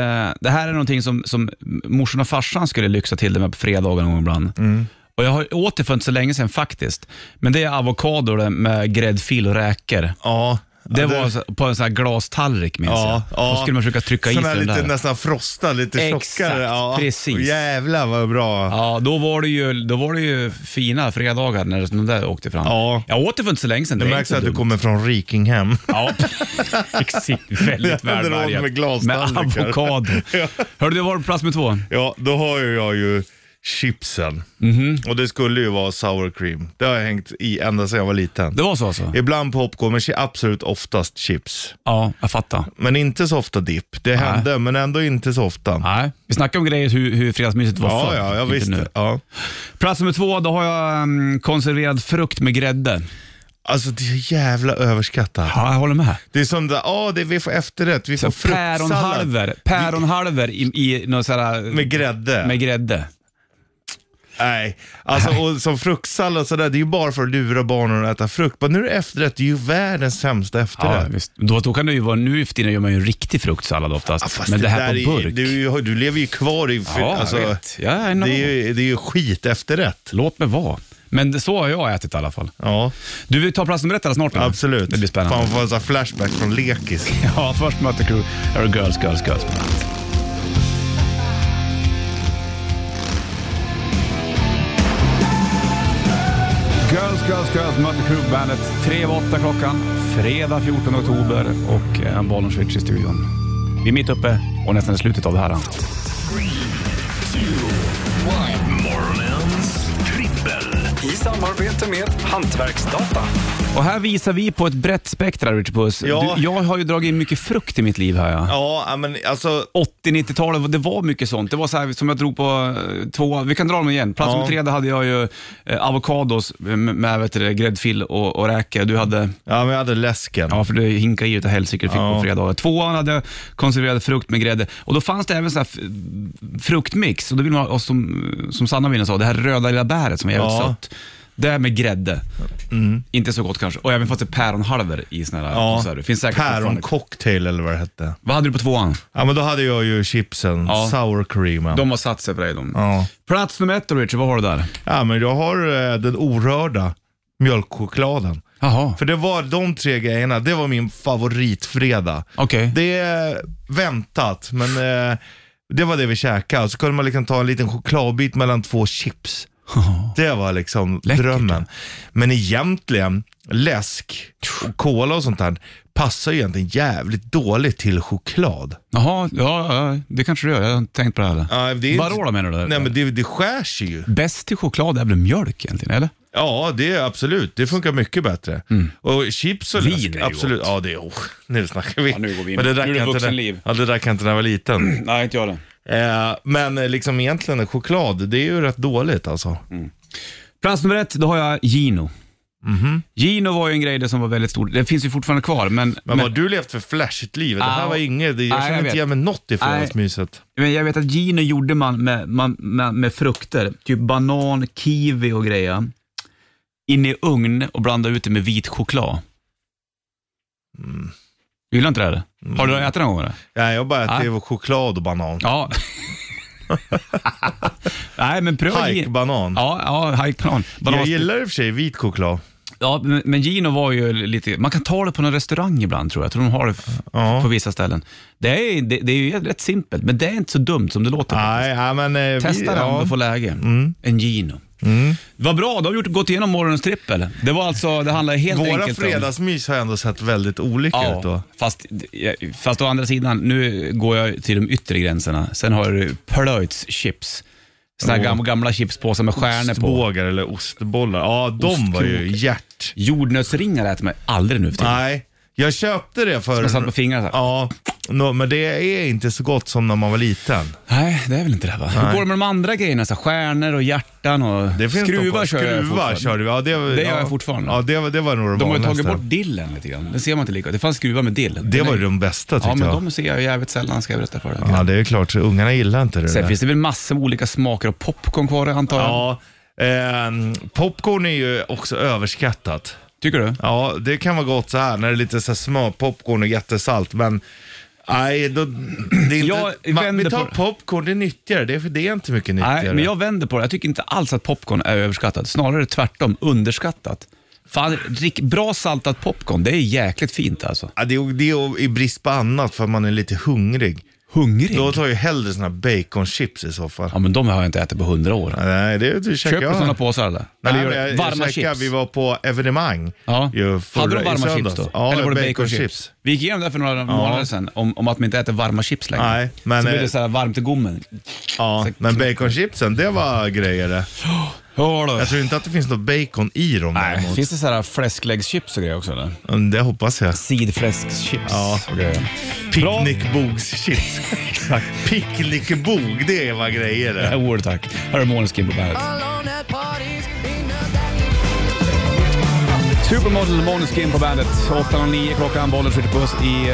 det här är någonting som, som morsan och farsan skulle lyxa till det med på fredagar någon gång ibland. Och jag har åt det för inte så länge sedan faktiskt, men det är avokador med gräddfil och räkor. Ja. Det var så- på en sån här glastallrik minns Ja, jag. ja. Då skulle man försöka trycka i sig Sån här den lite där. nästan frostad, lite Exakt, tjockare. precis. Och Jävlar vad bra. Ja, då var, det ju, då var det ju fina fredagar när de där åkte fram. Ja. Jag åt det för inte så länge sedan. Det är märks inte att så du dumt. kommer från Rikinghem. Ja, exakt. Väldigt Det hade varit välbärgat. med glastallrikar. avokado. Ja. Hörde du, var på plats med två? Ja, då har ju jag ju chipsen. Mhm. Och det skulle ju vara sour cream. Det har jag hängt i ända sedan jag var liten. Det var så alltså? Ibland popcorn, men chi- absolut oftast chips. Ja, jag fattar. Men inte så ofta dipp. Det hände, men ändå inte så ofta. Nej, vi snackade om grejer hur, hur fredagsmyset var ja, förr. ja, jag Ah, Inte nu. visste. Ja. Plats nummer två, då har jag mm, konserverad frukt med grädde. Alltså det är så jävla överskattat. Ja, jag håller med. Det är som det, ja, det, vi får efterrätt, vi får Så fruktsallad. päronhalvor, päronhalvor i, i någon sån här... Med grädde. med grädde. Nej, alltså och som fruktsallad och sådär, det är ju bara för att lura barnen att äta frukt. Men nu är det efterrätt, det är ju världens sämsta Ja, efterrätt. visst. Då, då kan det ju vara, nu för tiden gör man ju en riktig fruktsallad oftast. Ja, fast men det här där på är- burk. Du, du lever ju kvar i... alltså, Ja, jag vet. Ja, I know. det, är ju, det är ju skit efterrätt. Låt mig vara. Men det- så har jag ätit i alla fall. Ja, Du, vi tar plats nummer ett alldeles snart. nu. absolut. Det blir spännande. Fan, får en sån här flashback från lekis. Ja, först möter Crew. Här är Girls, Girls, Girls. Girls, Girls, Girls möter Crew Bandet. 3 av 8 klockan, fredag 14 oktober och eh, en bollen switch i studion. Vi är mitt uppe och nästan i slutet av det här. Morgonens trippel. I samarbete med Hantverksdata. Och här visar vi på ett brett spektra, Richard Puss. Ja. Du, jag har ju dragit in mycket frukt i mitt liv här. Ja. Ja, ja, men alltså... 80-90-talet, det var mycket sånt. Det var så här som jag drog på eh, två, vi kan dra dem igen. Plats Ja. nummer tre, där hade jag ju eh, avokados med, med vet du, det, gräddfil och, och räkor. Du hade, Ja, men jag hade läsken. ja för du hinkade i utav helsike du fick Ja. på fredagar. Tvåan hade jag konserverad frukt med grädde. Och då fanns det även så här f- fruktmix. Och då vill man ha, och som, som Sanna var inne och sa, det här röda lilla bäret som är jävligt Ja. Mm. sött. Det här med grädde. Inte så gott kanske. Och även fast det är päronhalvor i såna här Ja, konserver. Finns säkert fortfarande. Päroncocktail eller vad det hette. Vad hade du på tvåan? Ja, men då hade jag ju chipsen, Ja. sour creamen. De har satt sig på dig de. Ja. Plats nummer ett då Richard, vad har du där? ja, men jag har eh, den orörda mjölkchokladen. Jaha, För det var de tre grejerna, det var min favoritfredag. okej. Det är väntat, men eh, det var det vi käkade. Så kunde man liksom ta en liten chokladbit mellan två chips. Det var liksom Läckert. drömmen. Men egentligen, läsk och cola och sånt där passar ju egentligen jävligt dåligt till choklad. Jaha, ja, ja, det kanske du gör. Jag har inte tänkt på det här. Ja, det är inte- Barolo menar du? där? Nej men det, det skär sig ju. Bäst i choklad är väl mjölk egentligen, eller? Ja, det är absolut. Det funkar mycket bättre. Och chips och Mm. Vin läsk, är ju absolut. gott. Ja, det är... Oh, nu snackar vi. Ja, nu går vi in. Men det Nu är drack det jag inte vuxenliv. när, ja, det drack jag inte när jag var liten. Nej, inte jag det. Eh, men eh, liksom egentligen choklad, det är ju rätt dåligt alltså. Plats nummer ett, då har jag Gino. Gino var ju en grej det som var väldigt stor. Det finns ju fortfarande kvar, Mhm. men, Men, men, vad du levt för flashigt liv. Det här Ah, var inget, det- nej, jag jag känner inte vet. igen mig något i fredagsmyset. men jag vet att Gino gjorde man med, man med, med frukter, typ banan, kiwi och grejer. In i ugn och blanda ut det med vit choklad. Mm. Du gillar inte det här? Har du ätit det någon gång? Eller? Nej, jag bara äter ju choklad och banan. Ja. Nej, men pröva Gino. Hajkbanan. Ja, ja hajkplan. jag Banas- gillar i och för sig vit choklad. Ja, men- men Gino var ju lite... Man kan ta det på någon restaurang ibland tror jag. Jag tror de har det f- Ja. på vissa ställen. Det är, det, det är ju rätt simpelt, men det är inte så dumt som det låter. Nej, nej men... eh, vi- Testa det om ja. Mm. du får läge. En Gino. Vad bra, då har vi gjort, gått igenom morgonens trippel. Det var alltså, det handlar helt Våra enkelt om... fredagsmys har ändå sett väldigt olika ut då. Ja, fast, fast å andra sidan, nu går jag till de yttre gränserna. Sen har du Plöjts chips. Såna här Ja. gamla, gamla chipspåsar med stjärnor på. Ostbågar eller ostbollar. Ja, de var ju Ostkrokar. hjärt. Jordnötsringar äter man aldrig nu för tiden. Nej, jag köpte det för... Jag satt på fingrarna så här. Ja, nå, men det är inte så gott som när man var liten. Nej, det är väl inte det va? Hur går det med de andra grejerna? Så här, stjärnor och hjärtan och Det finns skruvar de kör jag skruvar fortfarande. kör du. Ja, det, Det ja. gör jag fortfarande. Ja, det, var- det var nog det De har ju tagit vanligaste. bort dillen lite grann. Den ser man inte lika. Det fanns skruvar med dill. Det Den var är- ju de bästa tyckte Ja, men jag. de ser jag ju jävligt sällan ska jag berätta för dig. Ja, det är ju klart. Ungarna gillar inte det Sen där. finns det väl massor med olika smaker av popcorn kvar antar jag. Ja, ehm, popcorn är ju också överskattat. Tycker du? Ja, det kan vara gott så här när det är lite så här smör, popcorn och jättesalt, men Nej, då, det är inte, Jag man, vänder vi tar på det. popcorn, det är nyttigare. Det är, för det är inte mycket nyttigare. Nej, men jag vänder på det. Jag tycker inte alls att popcorn är överskattat. Snarare tvärtom, underskattat. Fan, rick- bra saltat popcorn, det är jäkligt fint alltså. ja, det, är, det är i brist på annat för att man är lite hungrig. Hungrig? Då tar jag ju hellre såna här baconchips i så fall. Ja, men de har jag inte ätit på hundra år. Nej, det, det käkar Köper jag. du sådana påsar eller? Nej, eller men gör, jag, varma jag käkade, chips? Vi var på evenemang. Ja. ju förra- Hade de i varma chips söndags. då? Ja, Eller var det bacon baconchips? chips. Vi gick igenom det här för några månader sedan, om, om att man inte äter varma chips längre. Nej, men, så blev eh, det så här varmt i gommen. Ja, Så- men baconchipsen, det var grejer det. Ja, då. Jag tror inte att det finns något bacon i dem Nej, däremot. finns det så här fläskläggschips och grejer också eller? Mm, Det hoppas jag. Sidfläskchips Ja. och grejer. Picknickbogschips. Exakt. Picknickbog, det var grejer Det här det. ordet tack. Här är Måneskin på bandet. Supermodel Måneskin på bandet. 8.09 klockan, bollen skjuter på oss i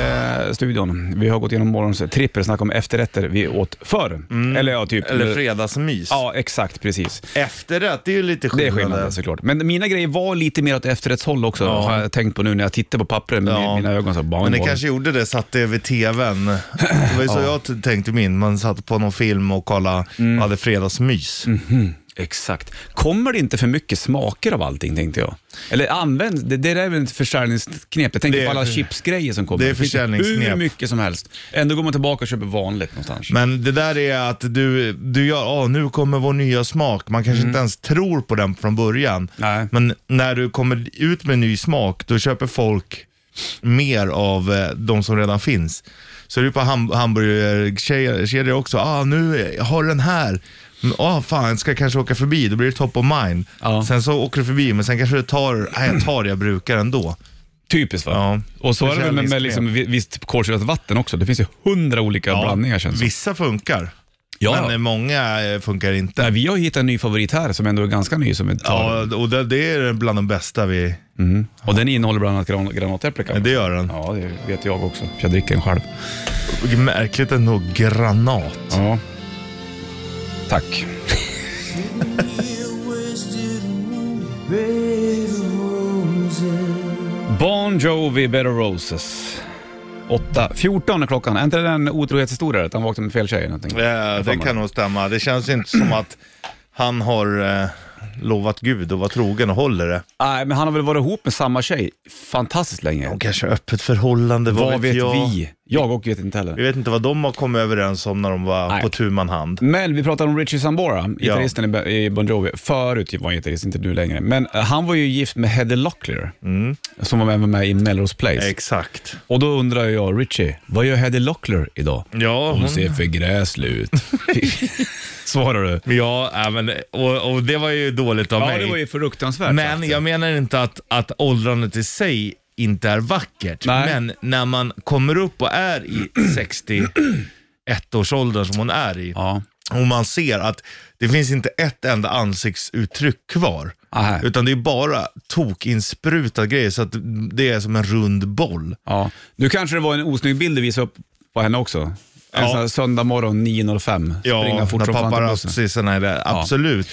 eh, studion. Vi har gått igenom morgons trippel, snack om efterrätter vi åt förr. Eller ja, typ... Mm. Eller fredagsmys. Ja, exakt precis. Efterrätt, det är ju lite Det är skillnad. skillnaden såklart. Men mina grejer var lite mer åt efterrättshåll också, har jag tänkt på nu när jag tittar på pappret med Ja. mina ögon. Så bara, Men det bara- kanske gjorde det, satt det vid tvn. Det var ju så jag t- tänkte min. Man satt på någon film och kollade Mm. och hade fredagsmys. Exakt. Kommer det inte för mycket smaker av allting, tänkte jag? Eller används, det, det där är väl ett försäljningsknep. Jag tänker Det är- på alla chipsgrejer som kommer. det är finns ju försäljningsknep. Hur mycket som helst. Ändå går man tillbaka och köper vanligt någonstans. Men det där är att du, du gör, åh nu kommer vår nya smak. Man kanske inte ens tror på den från början. Mm. Nej. Men när du kommer ut med ny smak, då köper folk mer av eh, de som redan finns. Så är det ju på ham- hamburgerkedjor också. Ah, nu har den här. Mm, Ah, fan, ska jag kanske åka förbi? Då blir det top of mind. Ja. Sen så åker du förbi, men sen kanske du tar, nej jag tar det jag brukar ändå. Typiskt va? Ja. Och så är det väl med, med Försäljningsknep. liksom, vi- visst kolsyrat vatten också. Det finns ju hundra olika blandningar känns det som. Vissa funkar, Ja. men eh, många eh, funkar inte. Nej, vi har ju hittat en ny favorit här som ändå är ganska ny. Som vi tar. Ja, och det, det är bland de bästa vi... Och den innehåller bland annat gran, granatäpplika. Det gör den. Ja, det vet jag också. För jag dricker den själv. Märkligt ändå, granat. Ja. Tack. Bon Jovi, Better Roses. 8.14 är klockan. Är inte det en otrohetshistoria? Att han vaknade med fel tjej eller någonting? Ja, det kan nog stämma. Det känns inte som att han har eh, lovat Gud och var trogen och håller det. Nej, men han har väl varit ihop med samma tjej fantastiskt länge. De kanske har öppet förhållande, vad, Vad vet jag? vi? Jag och vet inte Vi heller. vet inte vad de har kommit överens om när de var Nej. på tu man hand. Men vi pratade om Richie Sambora, gitarristen i i Bon Jovi. Förut var han gitarrist, inte nu längre. Men eh, han var ju gift med Heather Locklear, Mm. som var med, med i Melrose Place. Exakt. Och då undrar jag, Richie, vad gör Heather Locklear idag? Ja, Hon hon... ser för gräslig ut. Svarar du? Ja, äh, men, och, och det var ju dåligt av Ja, mig. det var ju fruktansvärt. Men sagt. jag menar inte att, att åldrandet i sig inte är vackert. Nej. Men när man kommer upp och är i 61-årsåldern som hon är i Ja. och man ser att det finns inte ett enda ansiktsuttryck kvar. Aha. Utan det är bara tokinsprutade grejer så att det är som en rund boll. ja. Nu kanske det var en osnygg bild du visade upp på henne också. En Ja. sån här söndag morgon 9.05. Springa fort som fan när till bussen. paparazzisarna är där. Absolut.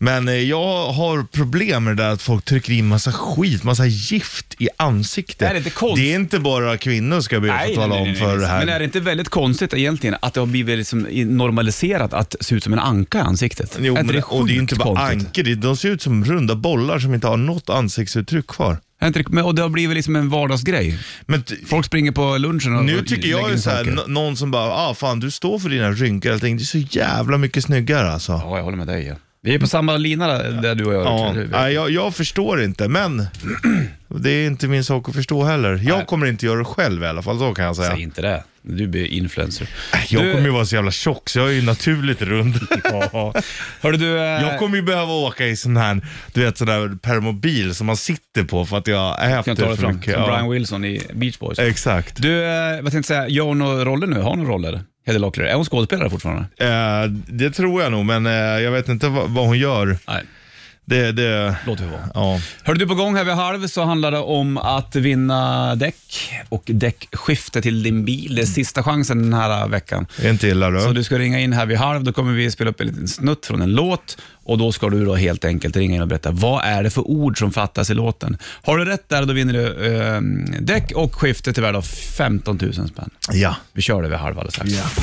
Men eh, jag har problem med det där att folk trycker in massa skit, massa gift i ansiktet. Är det inte konst- Det är inte bara kvinnor ska jag be att få tala om för det här. Men är det inte väldigt konstigt egentligen att det har blivit liksom i- normaliserat att se ut som en anka i ansiktet? Jo, är men, inte det och det är ju inte sjukt bara konstigt? ankor, det- de ser ut som runda bollar som inte har något ansiktsuttryck kvar. Är inte det- men- Och det har blivit liksom en vardagsgrej. Men t- Folk springer på lunchen och nu och tycker lägger jag ju in såhär, saker. n- någon som bara, ah fan du står för dina rynkor, jag tänkte, det är så jävla mycket snyggare alltså. Ja, jag håller med dig. Ja. Vi är på samma lina där, där du och jag. Ja, Richard. nej, jag, jag förstår inte, men det är inte min sak att förstå heller. Jag kommer inte göra det själv i alla fall, så kan jag säga. Säg inte det. Du blir influencer. Jag Du- kommer ju vara så jävla tjock, så jag är ju naturligt rund. Hörru du, eh, Jag kommer ju behöva åka i sån här, du vet sån här permobil som man sitter på för att jag kan äter jag ta det för fram. mycket. Som Brian Ja, Wilson i Beach Boys. exakt. Du, eh, vad tänkte jag säga, gör hon några roller nu? Har hon några roller? Heather Locklear. Är hon skådespelare fortfarande? Eh, det tror jag nog, men eh, jag vet inte vad, vad hon gör. Nej, Det, det, låt vi vara. ja. Hörde du, på gång här vid halv så handlar det om att vinna däck och däckskifte till din bil. Det är sista chansen den här veckan. Det är inte illa Så du. du ska ringa in här vid halv, då kommer vi spela upp en liten snutt från en låt och då ska du då helt enkelt ringa in och berätta vad är det för ord som fattas i låten. Har du rätt där, då vinner du eh, däck och skifte till värde av 15 000 spänn. Ja. Vi kör det vid halv alldeles strax.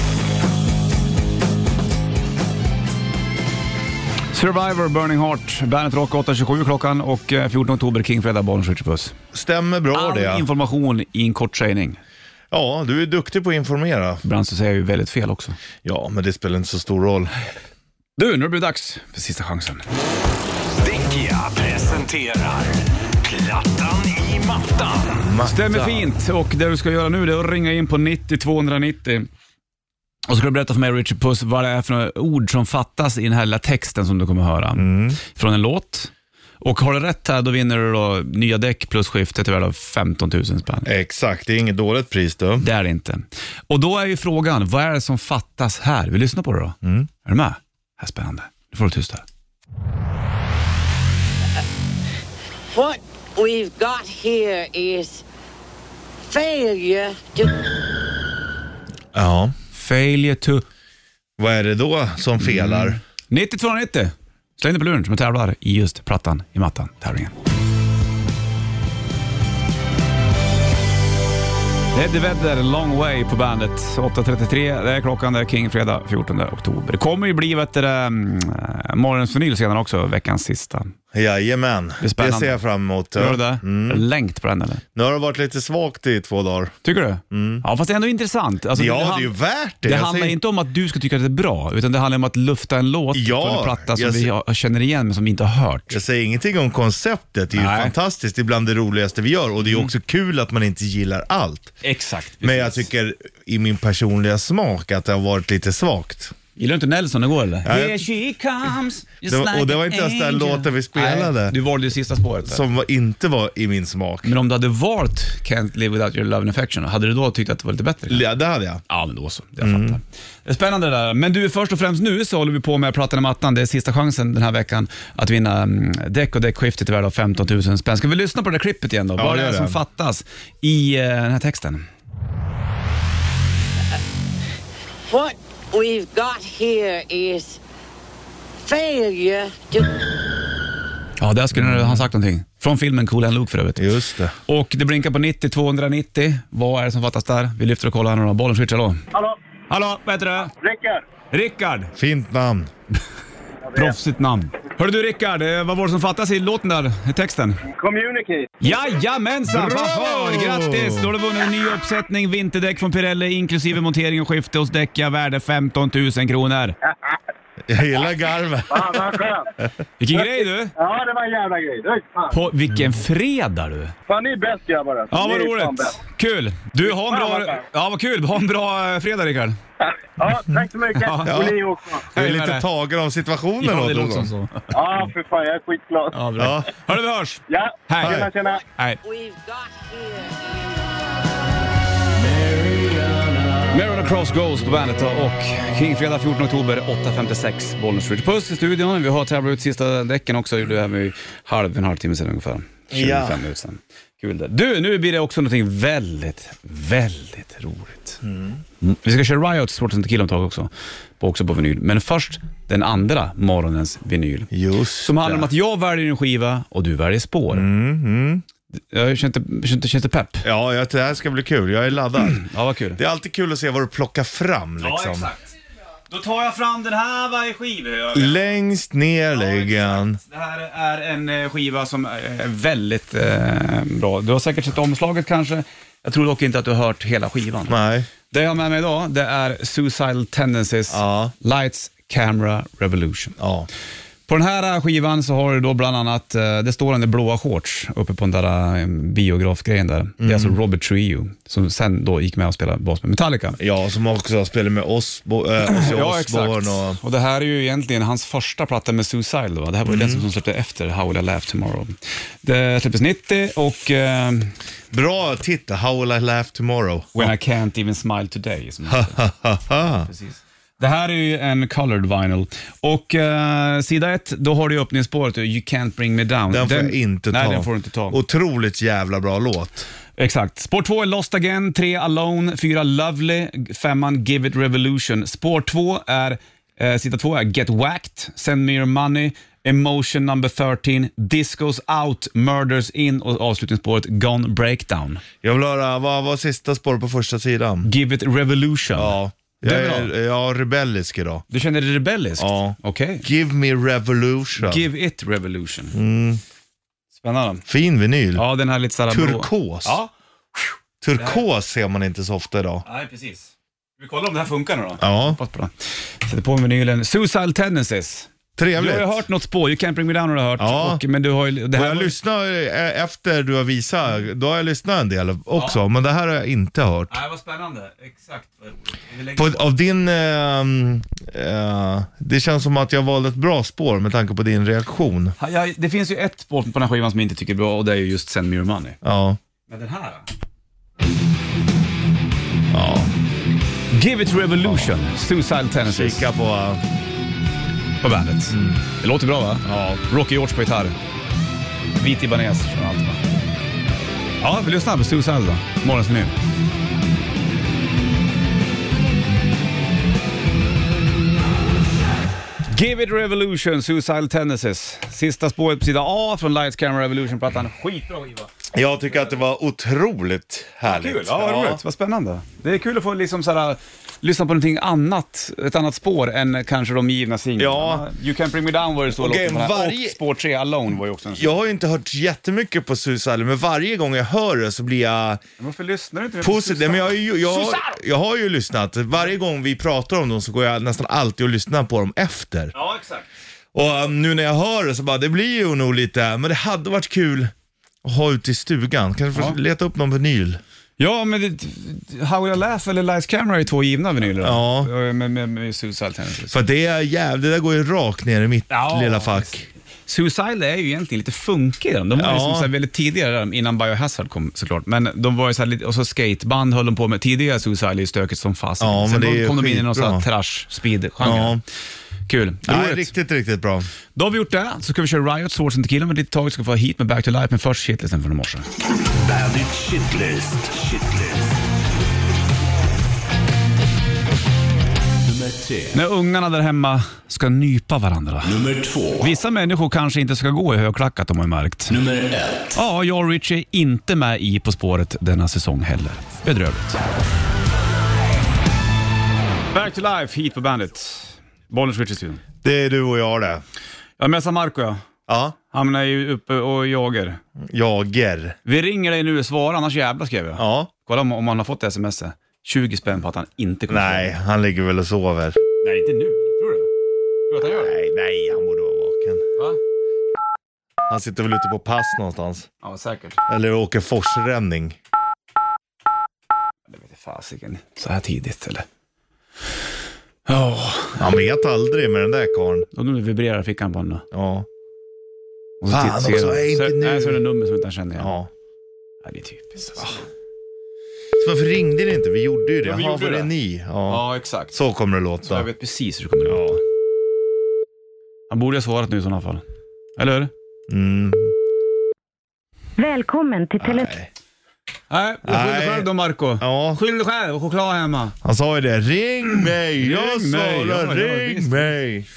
Survivor, Burning Heart, Bandet Rock 8.27 klockan och eh, 14 oktober, King Fredag, Bollen skjuter puss. Stämmer bra All det. information i en kort sägning. Ja, du är duktig på att informera. Ibland så säger jag ju väldigt fel också. Ja, men det spelar inte så stor roll. Du, nu blir det dags för sista chansen. Däckia presenterar Plattan i mattan. Stämmer fint. Och det du ska göra nu det är att ringa in på 90 290. Och så ska du berätta för mig, Richard Puss, vad det är för några ord som fattas i den här lilla texten som du kommer höra. Från en låt. Och har du rätt här, då vinner du då nya däck plus skifte till värde av 15 000 spänn. Exakt, det är inget dåligt pris du. Det är det inte. Och då är ju frågan, vad är det som fattas här? Vi lyssnar på det då. Är du med? Det här är spännande. Nu får du tyst här. What we've got here is failure to Ja. Failure to... Vad är det då som felar? 9290. Släng dig på luren som jag tävlar i just Plattan i mattan-tävlingen. Eddie Vedder, Long Way på bandet. 8.33, det är klockan, det är King, fredag 14 oktober. Det kommer ju bli vet du, det, mm, morgonens vinyl senare också, veckans sista. Jajamän, Mm. är det spännande. ser jag fram emot. Gör du det? Mm. Är det Längt på den eller? Nu har det varit lite svagt i två dagar. Tycker du? Ja, fast det är ändå intressant. Alltså, ja, det, han- är Mm. ju värt det. Det Jag handlar säger- inte om att du ska tycka att det är bra, utan det handlar om att lufta en låt Ja, från en platta som jag vi ser- har- känner igen men som vi inte har hört. Jag säger ingenting om konceptet, det är ju Nej. Mm. fantastiskt. Det är bland det roligaste vi gör och det är också kul att man inte gillar allt. Exakt. Men jag tycker i min personliga smak att det har varit lite svagt. Gillar du inte Nelson igår eller? jag- she comes, just Det var- och det an var inte ens den angel. låten vi spelade. Nej, du valde ju sista spåret. Där. Som var- inte var i min smak. Men om du hade valt Can't live without your love and affection, hade du då tyckt att det var lite bättre? Ja, det hade jag. Ja, men då så. Jag fattar. Det är spännande det där. Men du, först och främst nu så håller vi på med Plattan i mattan. Det är sista chansen den här veckan att vinna mm, däck och däckskiftet i värde av 15 000 spänn. Ska vi lyssna på det där klippet igen då? Vad det gör är det. som fattas i eh, den här texten? what we've got here is failure to Ja, där skulle Mm. han sagt någonting. Från filmen Cool and Luke för övrigt. Just det. Och det blinkar på 90 290. Vad är det som fattas där? Vi lyfter och kollar några bollen. Switch, hallå. Hallå, Hallå, vad heter du? Rickard. Rickard! Fint namn. Proffsigt namn. Hörru du Rickard, eh, vad var det som fattas i låten där, i texten? Communicate. Jajamensan! Bravo! Fanfar! Grattis! Då har du vunnit en ny uppsättning vinterdäck från Pirelli inklusive montering och skifte hos Däcka värde 15 000 kronor. Jag gillar garvet. Fan vad skönt. Vilken grej du! Ja, det var en jävla grej. Du, fan. På vilken fredag du! fan, ni är bäst grabbar. alltså. Ja, vad Ni är fan roligt! bäst. Kul! Du, ha en Fan, vad bra... bra. Ja, vad kul! Ha en bra eh, fredag Rickard! Ja, tack så mycket. Ja. Och ni också. Jag är Hej med dig. lite tagen av situationen. Ja, åt det någon låter som gång. så. Ja, för fan, jag är skitglad. Ja, bra. Ja. Hörru, vi hörs! Ja, Hej. tjena, tjena. Nej. we've got here is Marilyn Cross Goes på bandet och Kingfredag 14 oktober 8.56 Bollnäs Ridge. Puss i studion. Vi har tävlat ut sista däcken också. Gjorde det här med halv, en halvtimme sedan ungefär. 25 Ja. minuter sedan. Kul det. Du, nu blir det också någonting väldigt, väldigt roligt. Mm. Vi ska köra Riot Sports Tequila om ett tag också. På, också på vinyl. Men först den andra morgonens vinyl. Just Som handlar om det. att jag väljer en skiva och du väljer spår. Jag känner inte, känner inte- känner inte pepp. Mm, Ja, jag- det här ska bli kul. Jag är laddad. Ja, vad kul. Det är alltid kul att se vad du plockar fram liksom. Då tar jag fram den här varje skivhögen. Längst ner lägger han. Det här är en eh, skiva som är väldigt eh, bra. Du har säkert sett omslaget kanske. Jag tror dock inte att du har hört hela skivan. Nej. Det jag har med mig idag, det är Suicidal Tendencies, Ja. Lights, Camera, Revolution. Ja. På den här eh, skivan så har du då bland annat, eh, det står en i blåa shorts uppe på den där eh, biografgrejen där. Mm. Det är alltså Robert Trujillo som sen då gick med och spelade bas med Metallica. Ja, som också spelar med oss, bo, äh, Ozzy Osbourne och... Och det här är ju egentligen hans första platta med Suicidal. Va? Det här var ju Mm. den som de släppte efter How Will I Laugh Tomorrow. Det släpptes 90 och eh, Bra titel, How Will I Laugh Tomorrow. When I Can't Even Smile Today. Som Haha. precis. Det här är ju en colored vinyl. Och eh, sida ett, då har du ju öppningsspåret eh, You Can't Bring Me Down. Den får jag inte ta. Nej, den får du inte ta. Otroligt jävla bra låt. Exakt. Spår 2 är Lost Again, 3 Alone, 4 Lovely, 5 Give It Revolution. Spår 2 är, eh, sida 2 är Get Whacked, Send Me Your Money, Emotion Number 13, Discos Out, Murders In och avslutningsspåret Gone Breakdown. Jag vill höra, vad var sista spår på första sidan? Give It Revolution. Ja, jag Mm. Den är, är bra. jag är rebellisk idag. Du känner dig rebellisk? Ja. Okej. Give me revolution. Give It Revolution. Mm. Spännande. Fin vinyl. Ja, den här lite såhär... blå- Turkos. Ja. Turkos ser man inte så ofta idag. Nej, precis. Vi kollar om det här funkar nu då. Ja, Hoppas på det. Sätter på vinylen. Suicidal Tendencies. Du trevligt. har ju hört något spår, You Can't Bring Me Down har du hört. Ja. Och, men du har ju, det Och här jag var ju- lyssnar eh, efter du har visat, då har jag lyssnat en del också, men det här har jag inte hört. Nej, vad spännande. Exakt. Vi lägger På, på. av din, eh, eh, det känns som att jag valde ett bra spår med tanke på din reaktion. Ja, jag- det finns ju ett spår på den här skivan som jag inte tycker är bra och det är ju just Send Me Your Money. Ja, Men den här då? ja. Give It Revolution, Suicidal Tendencies kika på, eh, på bandet. Det låter bra va? ja, Rocky George på gitarr. Vit Ibanez kör allt va? Ja, vi lyssnar på Suicide då. Morgonsmenyn. Give it revolution, Suicidal Tendencies. Sista spåret på sida A från Lights Camera Revolution-plattan. Skitbra skiva. Jag tycker att det var otroligt härligt. Kul, ja, vad roligt. Vad spännande. Det är kul att få liksom så här, lyssna på någonting annat, ett annat spår än kanske de givna singlarna. Ja. You Can Bring Me Down var det så Okej, låten på den här. varje- Och spår 3 Alone var ju också en sån. Jag har ju inte hört jättemycket på Suicide, men varje gång jag hör det så blir jag Varför lyssnar du inte mer på positiv. Nej, Suicide? Men jag, är ju- jag, jag har ju lyssnat. Varje gång vi pratar om dem så går jag nästan alltid och lyssnar på dem efter. Ja, exakt. Och um, nu när jag hör det så bara, det blir ju nog lite, men det hade varit kul att ha ute i stugan. Kanske få Ja. leta upp någon vinyl. Ja, men det, How Will I Laugh eller Lights Camera är två givna vinyler. då. Ja. Med, med, med Suicide Tendencies. För det är jävligt, det där går ju rakt ner i mitt Ja. lilla fack. Suicide är ju egentligen lite funkiga. De var Ja. ju liksom så här väldigt tidiga där, innan Biohazard kom såklart. Men de var ju så här lite, och så skateband höll de på med. Tidigare Suicide är ju stökigt som fasen. Ja, Sen men det är kom de in i någon skitbra. sån här trash speed genre Ja. Kul. Nej, Roligt. riktigt, riktigt bra. Då har vi gjort det. Så ska vi köra Riot, Swords and Tequila med lite tag. Ska vi få hit med Back to Life, men först shitlisten från i morse. Bandit Shitlist. Shitlist. Nummer tre. När ungarna där hemma ska nypa varandra. Nummer två. Vissa människor kanske inte ska gå i högklackat har man ju märkt. Nummer ett. Ja, jag och Richie är inte med i På spåret denna säsong heller. Bedrövligt. Back to life, hit på bandet. Bollnäs Richie studion. Det är du och jag det. Jag messar Marco ja. Ja, Han är ju uppe och jagar. jager. Vi ringer dig nu, svara annars jävlar skrev jag. Ja. Kolla om, om han har fått sms. 20 spänn på att han inte kommer Nej, svara. han ligger väl och sover. Nej, inte nu. Tror du? Tror du att han gör det? Nej, nej, han borde vara vaken. Va? Han sitter väl ute på pass någonstans. Ja, säkert. Eller åker forsränning. Det vete fasiken. Så här tidigt eller? Ja, Han vet aldrig med den där karln. och nu vibrerar fickan på honom. Ja. Och så Fan titt- ser också, jag- är inte så, nu. Nej, så är det nummer som inte han känner igen. ja. Ja, det är typiskt. alltså. Så varför ringde ni inte? Vi gjorde ju det. Ja, vi Jaha, gjorde var det det. ni? Ja. Ja, exakt. Så, Så kommer det låta. jag vet precis hur det kommer Ja. låta. Han borde ha svarat nu i sådana fall. Eller hur? Mm. Välkommen till Tele2. Nej. Nej, jag skyller Nej. själv då Marco. Ja. Skyll dig själv och choklad hemma. Han sa ju det. Ring mig! Jag Ring mig. Ja, ja, svarar, ring visst. mig!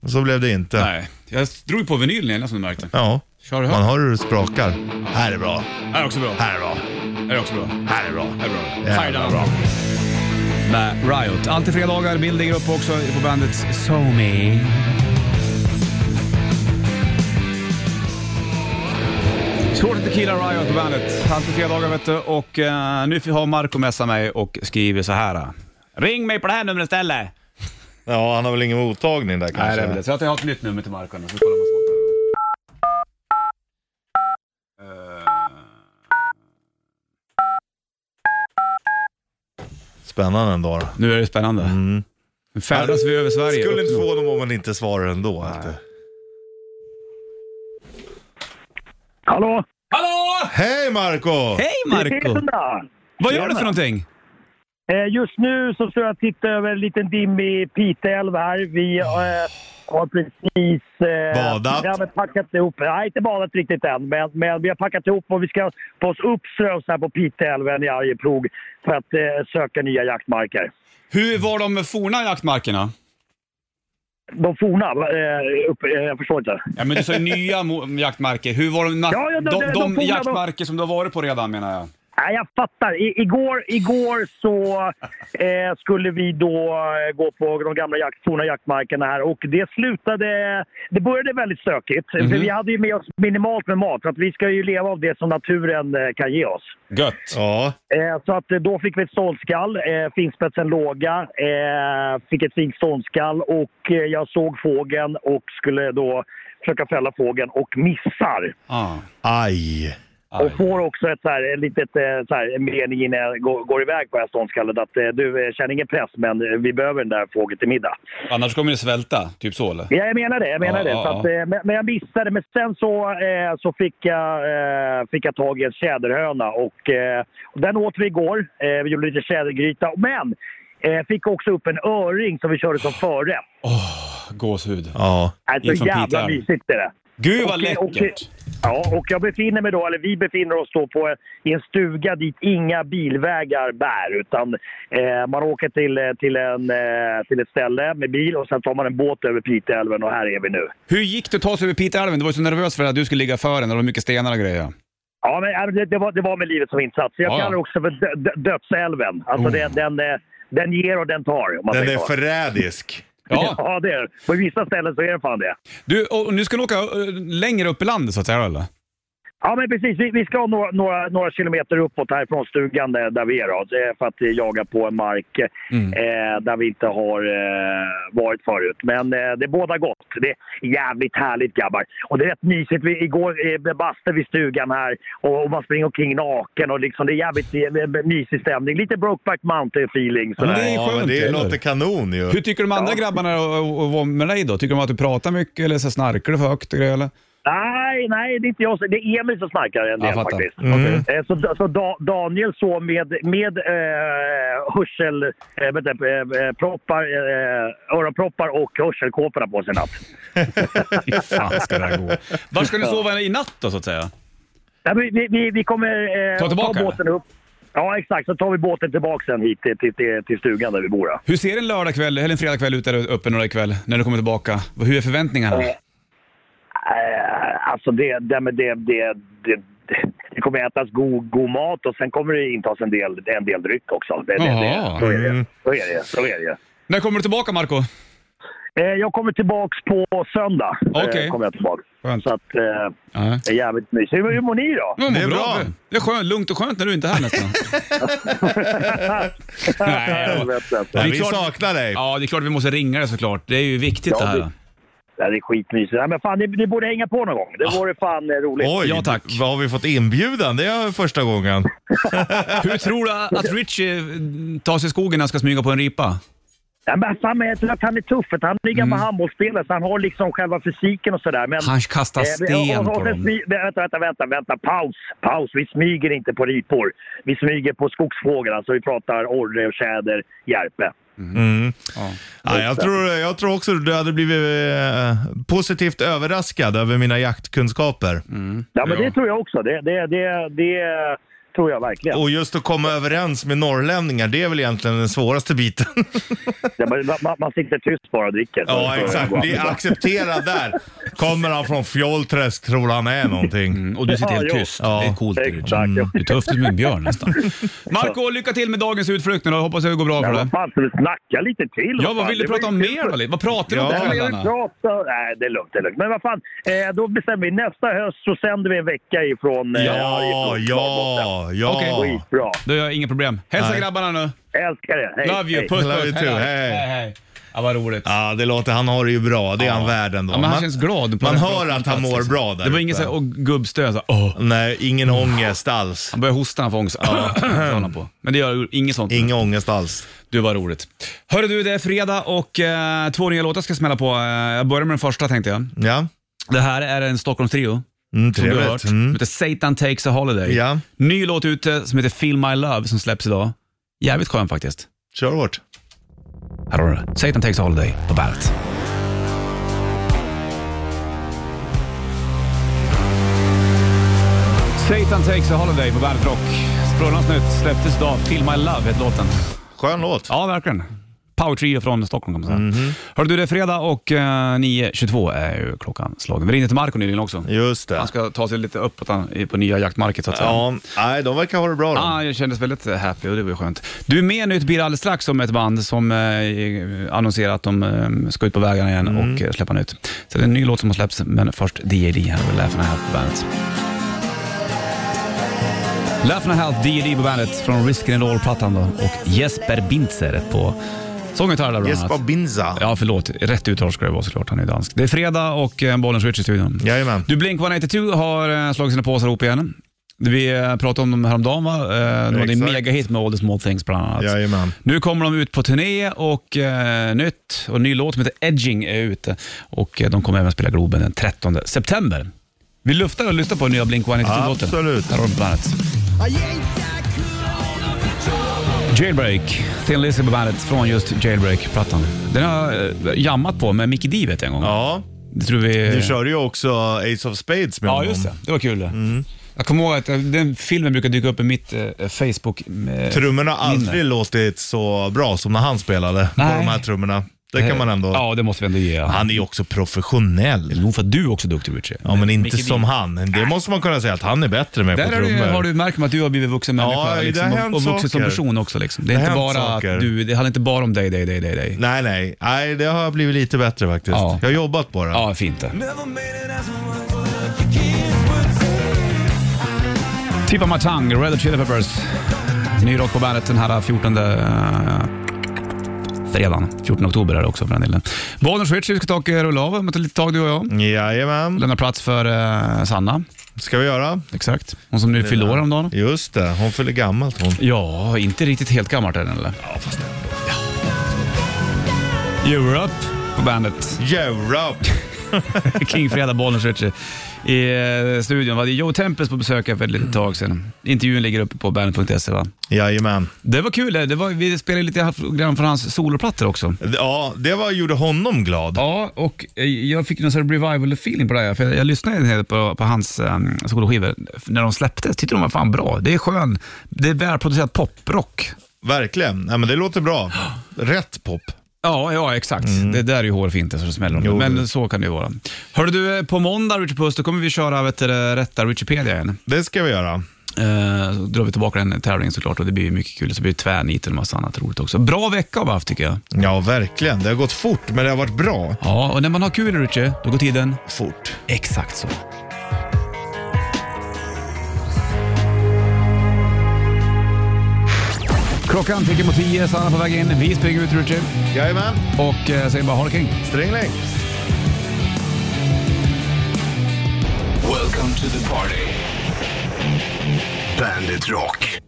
Och så blev det inte. Nej, jag drog på vinylen igen som du märkte. Ja, Kör du man högt. hör hur det sprakar. Här är bra. Här är också bra. Här är bra. Här är också bra. Här är bra. Här är bra. Jävla Fajdan. bra. Med Riot. Alltid fredagar, bild ligger uppe också på bandet SoMe. Svårt att killa Riot på bandet. Alltid fredagar vet du. Och eh, nu har Marco messat mig och skriver så här. Ring mig på det här numret istället. Ja, han har väl ingen mottagning där kanske? Nej, det är väl det. Så att jag har ett nytt nummer till Marco nu. Så kollar man så. Spännande ändå. då. Nu är det spännande. Mm. Nu färdas vi över Sverige. Skulle inte upp nu. få dem om man inte svarar ändå. vet du. Hallå? Hallå! Hej Marco! Hej Marco! Tjena! Vad gör du för någonting? Eh, Just nu så står jag och tittar över en liten dimmig Piteälv här. Vi Oh. eh, har precis... Eh, Badat. Ja, men packat ihop. Nej, inte badat riktigt än. Men, men vi har packat ihop och vi ska på oss uppströms här på Piteälven i Arjeplog för att eh, söka nya jaktmarker. Hur var de forna jaktmarkerna? De forna, eh, upp, eh, jag förstår inte. Ja, men du sa ju nya mo- jaktmarker. Hur var de, na- Ja, ja, de- de, de- de, de forna, jaktmarker som du har varit på redan menar jag? Nej, jag fattar. I, igår, igår så eh, skulle vi då eh, gå på de gamla jakt, forna jaktmarkerna här och det slutade... Det började väldigt stökigt. För vi hade ju med oss minimalt med mat för att vi ska ju leva av det som naturen eh, kan ge oss. Gött. Ja, Eh, så att eh, då fick vi ett ståndskall, eh, finspetsen låga, eh, fick ett fint ståndskall och eh, jag såg fågeln och skulle då försöka fälla fågeln och missar. Ah, aj. Och aj. får också ett, så här, ett litet eh, så här, en mening innan jag går, går iväg på det här ståndskallet att eh, du eh, känner ingen press men eh, vi behöver den där fågeln till middag. Annars kommer det svälta, typ så eller? Ja, jag menar det, jag menar Ja, det. ja, Så att, ja. eh, men, men jag missade. Men sen så, eh, så fick, jag, eh, fick jag tag i en tjäderhöna och, eh, och den åt vi igår. Eh, vi gjorde lite tjädergryta. Men eh, fick också upp en öring som vi körde som förrätt. Åh, gåshud. Ja. Alltså Inför jävla Peter. mysigt är det. Gud vad Okej, läckert. okej. Ja, och jag befinner mig då, eller vi befinner oss då på, eh, i en stuga dit inga bilvägar bär. Utan eh, man åker till, eh, till, en, eh, till ett ställe med bil och sen tar man en båt över Piteälven och här är vi nu. Hur gick det att ta sig över Piteälven? Du var ju så nervös för att du skulle ligga före när det var mycket stenar och grejer. Ja, men äh, det, det, var, det var med livet som insats. Jag Ja. Oh. kallar det också för dö, dö, dödsälven. Alltså det, den, eh, den ger och den tar. Om man Den säger är så. förrädisk. Ja. Ja, det är det. På vissa ställen så är det fan det. Du, och nu ska ni åka eh, längre upp i landet så att säga, eller? Ja, men precis. Vi, vi ska ha några, några, några kilometer uppåt härifrån stugan där, där vi är då, Det är för att eh, jaga på en mark eh, där vi inte har eh, varit förut. Men eh, det båda gott. Det är jävligt härligt grabbar. Och det är rätt mysigt. Vi, igår eh, blev bastu vid stugan här och, och man springer omkring naken och liksom, det är jävligt eh, mysig stämning. Lite Brokeback Mountain-feeling. Ja, men sådär. det är Ja, men skönt, det eller? låter kanon ju. Hur tycker de andra grabbarna och- och- och var med dig då? Tycker de att du pratar mycket eller så snarkar du för högt och grejer, eller? Nej, nej, det är inte jag. som- Det är Emil som snarkar en Ja, del jag fattar. Mm. faktiskt. Okej. Eh, Så, så da, Daniel så med, med eh, hörsel, eh, vänta, eh, proppar, eh, öronproppar och hörselkåporna på sig i natt. Fy fan ska det här gå. Var ska ni sova i natt då så att säga? Nej, men vi, vi, vi kommer eh, Ta tillbaka, båten upp. Ja, exakt. Så tar vi båten tillbaka sen hit till, till, till, till stugan där vi bor. Då. Hur ser en lördagkväll eller en fredagkväll ut där uppe några ikväll när du kommer tillbaka? Hur är förväntningarna? Eh, alltså det, det, men det, det, det, det kommer ätas god, god mat och sen kommer det intas en del, en del dryck också. Det, det, Jaha. det, så är det. Så är det. Så är det. När kommer du tillbaka Marco? Eh, jag kommer tillbaks på söndag. Okej. Eh, kommer jag tillbaks. Skönt. Så att, eh, Ja. det är jävligt mysigt. Hur, hur mår ni då? Ja, det är bra. Det är skönt, lugnt och skönt när du inte är här nästan. Nej, då. Helvete. Ja, Det är vi klart- saknar dig. ja, det är klart vi måste ringa dig såklart. Det är ju viktigt Ja, det här. det- Det här är skitmysigt. Nej, men fan, ni, ni borde hänga på någon gång. Det Ah. vore fan eh, roligt. Oj, Ja, tack. vad har vi fått inbjudan? Det är första gången. Hur tror du att Richie eh, tar sig i skogen när han ska smyga på en ripa? Nej, men fan, men jag tror att han är tuff. för att Han är gammal Mm. handbollsspelare, så han har liksom själva fysiken och sådär. Men... Han kastar Eh, vi- sten och- och- på och sen dem. smy- Vänta, vänta, vänta, vänta. Paus, paus. Vi smyger inte på ripor. Vi smyger på skogsfågel. Alltså vi pratar orre, tjäder, järpe. Ja, jag, tror, jag tror också du hade blivit eh, positivt överraskad över mina jaktkunskaper. Ja, men Ja. det tror jag också. Det, det, det, det tror jag verkligen. Och just att komma överens med norrlänningar, det är väl egentligen den svåraste biten. Ja, men man, man sitter tyst bara och dricker. Så- Ja, så- exakt. så- Bli accepterad där. Kommer han från Fjollträsk tror han är någonting. Mm, Och du sitter helt Ja, tyst. ja. Det Mm. är coolt Richie. Exakt. Du tar upp det som en björn nästan. Marco, lycka till med dagens utflykt nu då. Hoppas det går bra Ja, för dig. vad fan, ska vi snacka lite till? Ja, vad fan? vill du Det var prata ju om kul mer? för- Vad- Vad pratar du om Ja. på Nej, jag vill kvällarna? prata... Nej, det är lugnt. Det är lugnt. Men vad fan, eh, då bestämmer vi. Nästa höst så sänder vi en vecka ifrån... eh, Ja, ifrån Norrbotten. ja, ja. Okej. Skitbra. Du har inga problem. Hälsa Nej. grabbarna nu. Älskar det. Hej, Love you. hej. Puss Love puss. you too. då. Hej. hej. Ja, vad roligt. Ja, det låter, han har det ju bra. Det är han värd ändå. Ja, men han Man- känns glad. på man den hör platsen. att han mår bra där Det var ute. inget så här, och gubbstöd. Så, här, åh. Nej, ingen ångest alls. Han börjar hosta, han får ångest. Ja. på. Men det gör ju inget sånt. Ingen ångest alls. Du, var roligt. Hörru du, det är fredag och eh, två nya låtar ska smälla på. Eh, jag börjar med den första tänkte jag. Ja, Det här är en Stockholmstrio. mm, Som du har trevligt. hört. Mm. Som heter Satan takes a holiday. Ja, Ny låt ute som heter Feel My Love som släpps idag. Jävligt skön faktiskt. kör hårt. Här har du det. Satan takes a holiday på bandet. Satan takes a holiday på bandet Rock. Sprillans nytt släpptes idag. Feel My Love heter låten. Skön låt. Ja, verkligen. Power Trio från Stockholm kan man säga. Mhm. Hörru du, det är fredag och eh, 9.22 är ju klockan slagen. Vi ringde till Marco nyligen också. Just det. Han ska ta sig lite uppåt han- på nya jaktmarket så att säga. Ja, nej, de verkar ha det bra Ja, de. ah, jag kändes väldigt happy och det var ju skönt. Du är med nu ett bil alldeles strax om ett band som eh, annonserar att de eh, ska ut på vägarna igen och eh, släppa nytt. Så det är en ny låt som har släppts, men först D.A.D. här på Laugh and a Half på bandet. Laugh and a Half, D.A.D. på bandet från Risk and Roll-plattan då och Jesper Bintzer på sång och gitarr där bland Jesper annat. Binza. Ja, förlåt. Rätt uttal ska det vara såklart. Han är dansk. Det är fredag och eh, bollen switch i studion. Jajamän. Du, Blink-182 har eh, slagit sina påsar ihop igen. Vi eh, pratade om dem häromdagen va? Eh, De hade en Exakt. megahit med All the small things bland annat. Jajamän. Nu kommer de ut på turné och eh, nytt och ny låt som heter Edging är ute. Och eh, de kommer även spela Globen den 13 september. Vi luftar och lyssnar på nya Blink-182-låten. Absolut. Här har du bandet. Jailbreak, Thin Lizzy på bandet från just Jailbreak-plattan. Den har jag eh, jammat på med Mickey D vet jag en gång. Ja, Det tror vi... Du körde ju också Ace of Spades med Ja, honom. Mm. just det. Det var kul det. Jag kommer ihåg att eh, den filmen brukar dyka upp i mitt eh, Facebook... eh, Trummorna har aldrig minne. låtit så bra som när han spelade Nej. Eh, på de här trummorna. Det kan man ändå... Ja, det måste vi ändå ge. Han är ju också professionell. Nog för att du är också duktig, Richie. Ja, men inte Micke som Dean. han. Det måste man kunna säga att han är bättre med på Där är du, trummor. har du märkt att du har blivit vuxen Ja, människa det liksom, har och, hänt och vuxen som saker. person också. Liksom. Det, är Det inte har bara hänt saker. att du, det handlar inte bara om dig, dig, dig, dig. dig. Nej, nej. Nej, det har blivit lite bättre faktiskt. Ja. Jag har jobbat på det. Ja, fint det. Tip of my tongue, Red Hot Chili Peppers. Ny rock på bandet den här 14... eh, fredagen. 14 oktober är det också för den delen. Bollnäs Richie, vi ska ta och eh, rulla av om ett litet tag du och jag. Jajamän. Lämna plats för eh, Sanna, Ska vi göra? exakt. Hon som nu fyllde år häromdagen. Just det, hon fyller gammalt hon. Ja, inte riktigt helt gammalt är den eller? Ja, fast ändå. Europe på bandet. Europe! King Fredag, Bollnäs Richie i eh, studion. Vi hade Joe Tempest på besök här för ett litet tag sedan. Intervjun ligger uppe på bandet.se va? Jajamän. det Det var kul, det var, vi spelade lite grann från hans soloplattor också. Ja, det var, gjorde honom glad. Ja, och eh, jag fick ju någon sorts revival-feeling på det här. För jag, jag lyssnade en hel del på, på hans um, soloskivor när de släpptes. Tyckte de var fan bra. Det är skön, det är välproducerat poprock. Verkligen. Nej, men det låter bra. Rätt pop. Ja, ja exakt. Det där är ju hårfint det, så det smäller om det. Jo, Men det- så kan det ju vara. Hörru du, eh, på måndag Richard Puss, då kommer vi köra vet du, det, rätta Richipedia igen. Det ska vi göra. Eh, så drar vi tillbaka den tävlingen såklart och det blir ju mycket kul. Så blir det tvärniten och massa annat roligt också. Bra vecka har vi haft tycker jag. Ja, verkligen. Det har gått fort, men det har varit bra. Ja, och när man har kul Richie, då går tiden Fort. exakt så. Klockan tickar mot tio, Sanna på väg in. Vi springer ut Richie Jajamän. och eh, säger bara ha det kring. Strängling. Welcome to the party. Bandit Rock.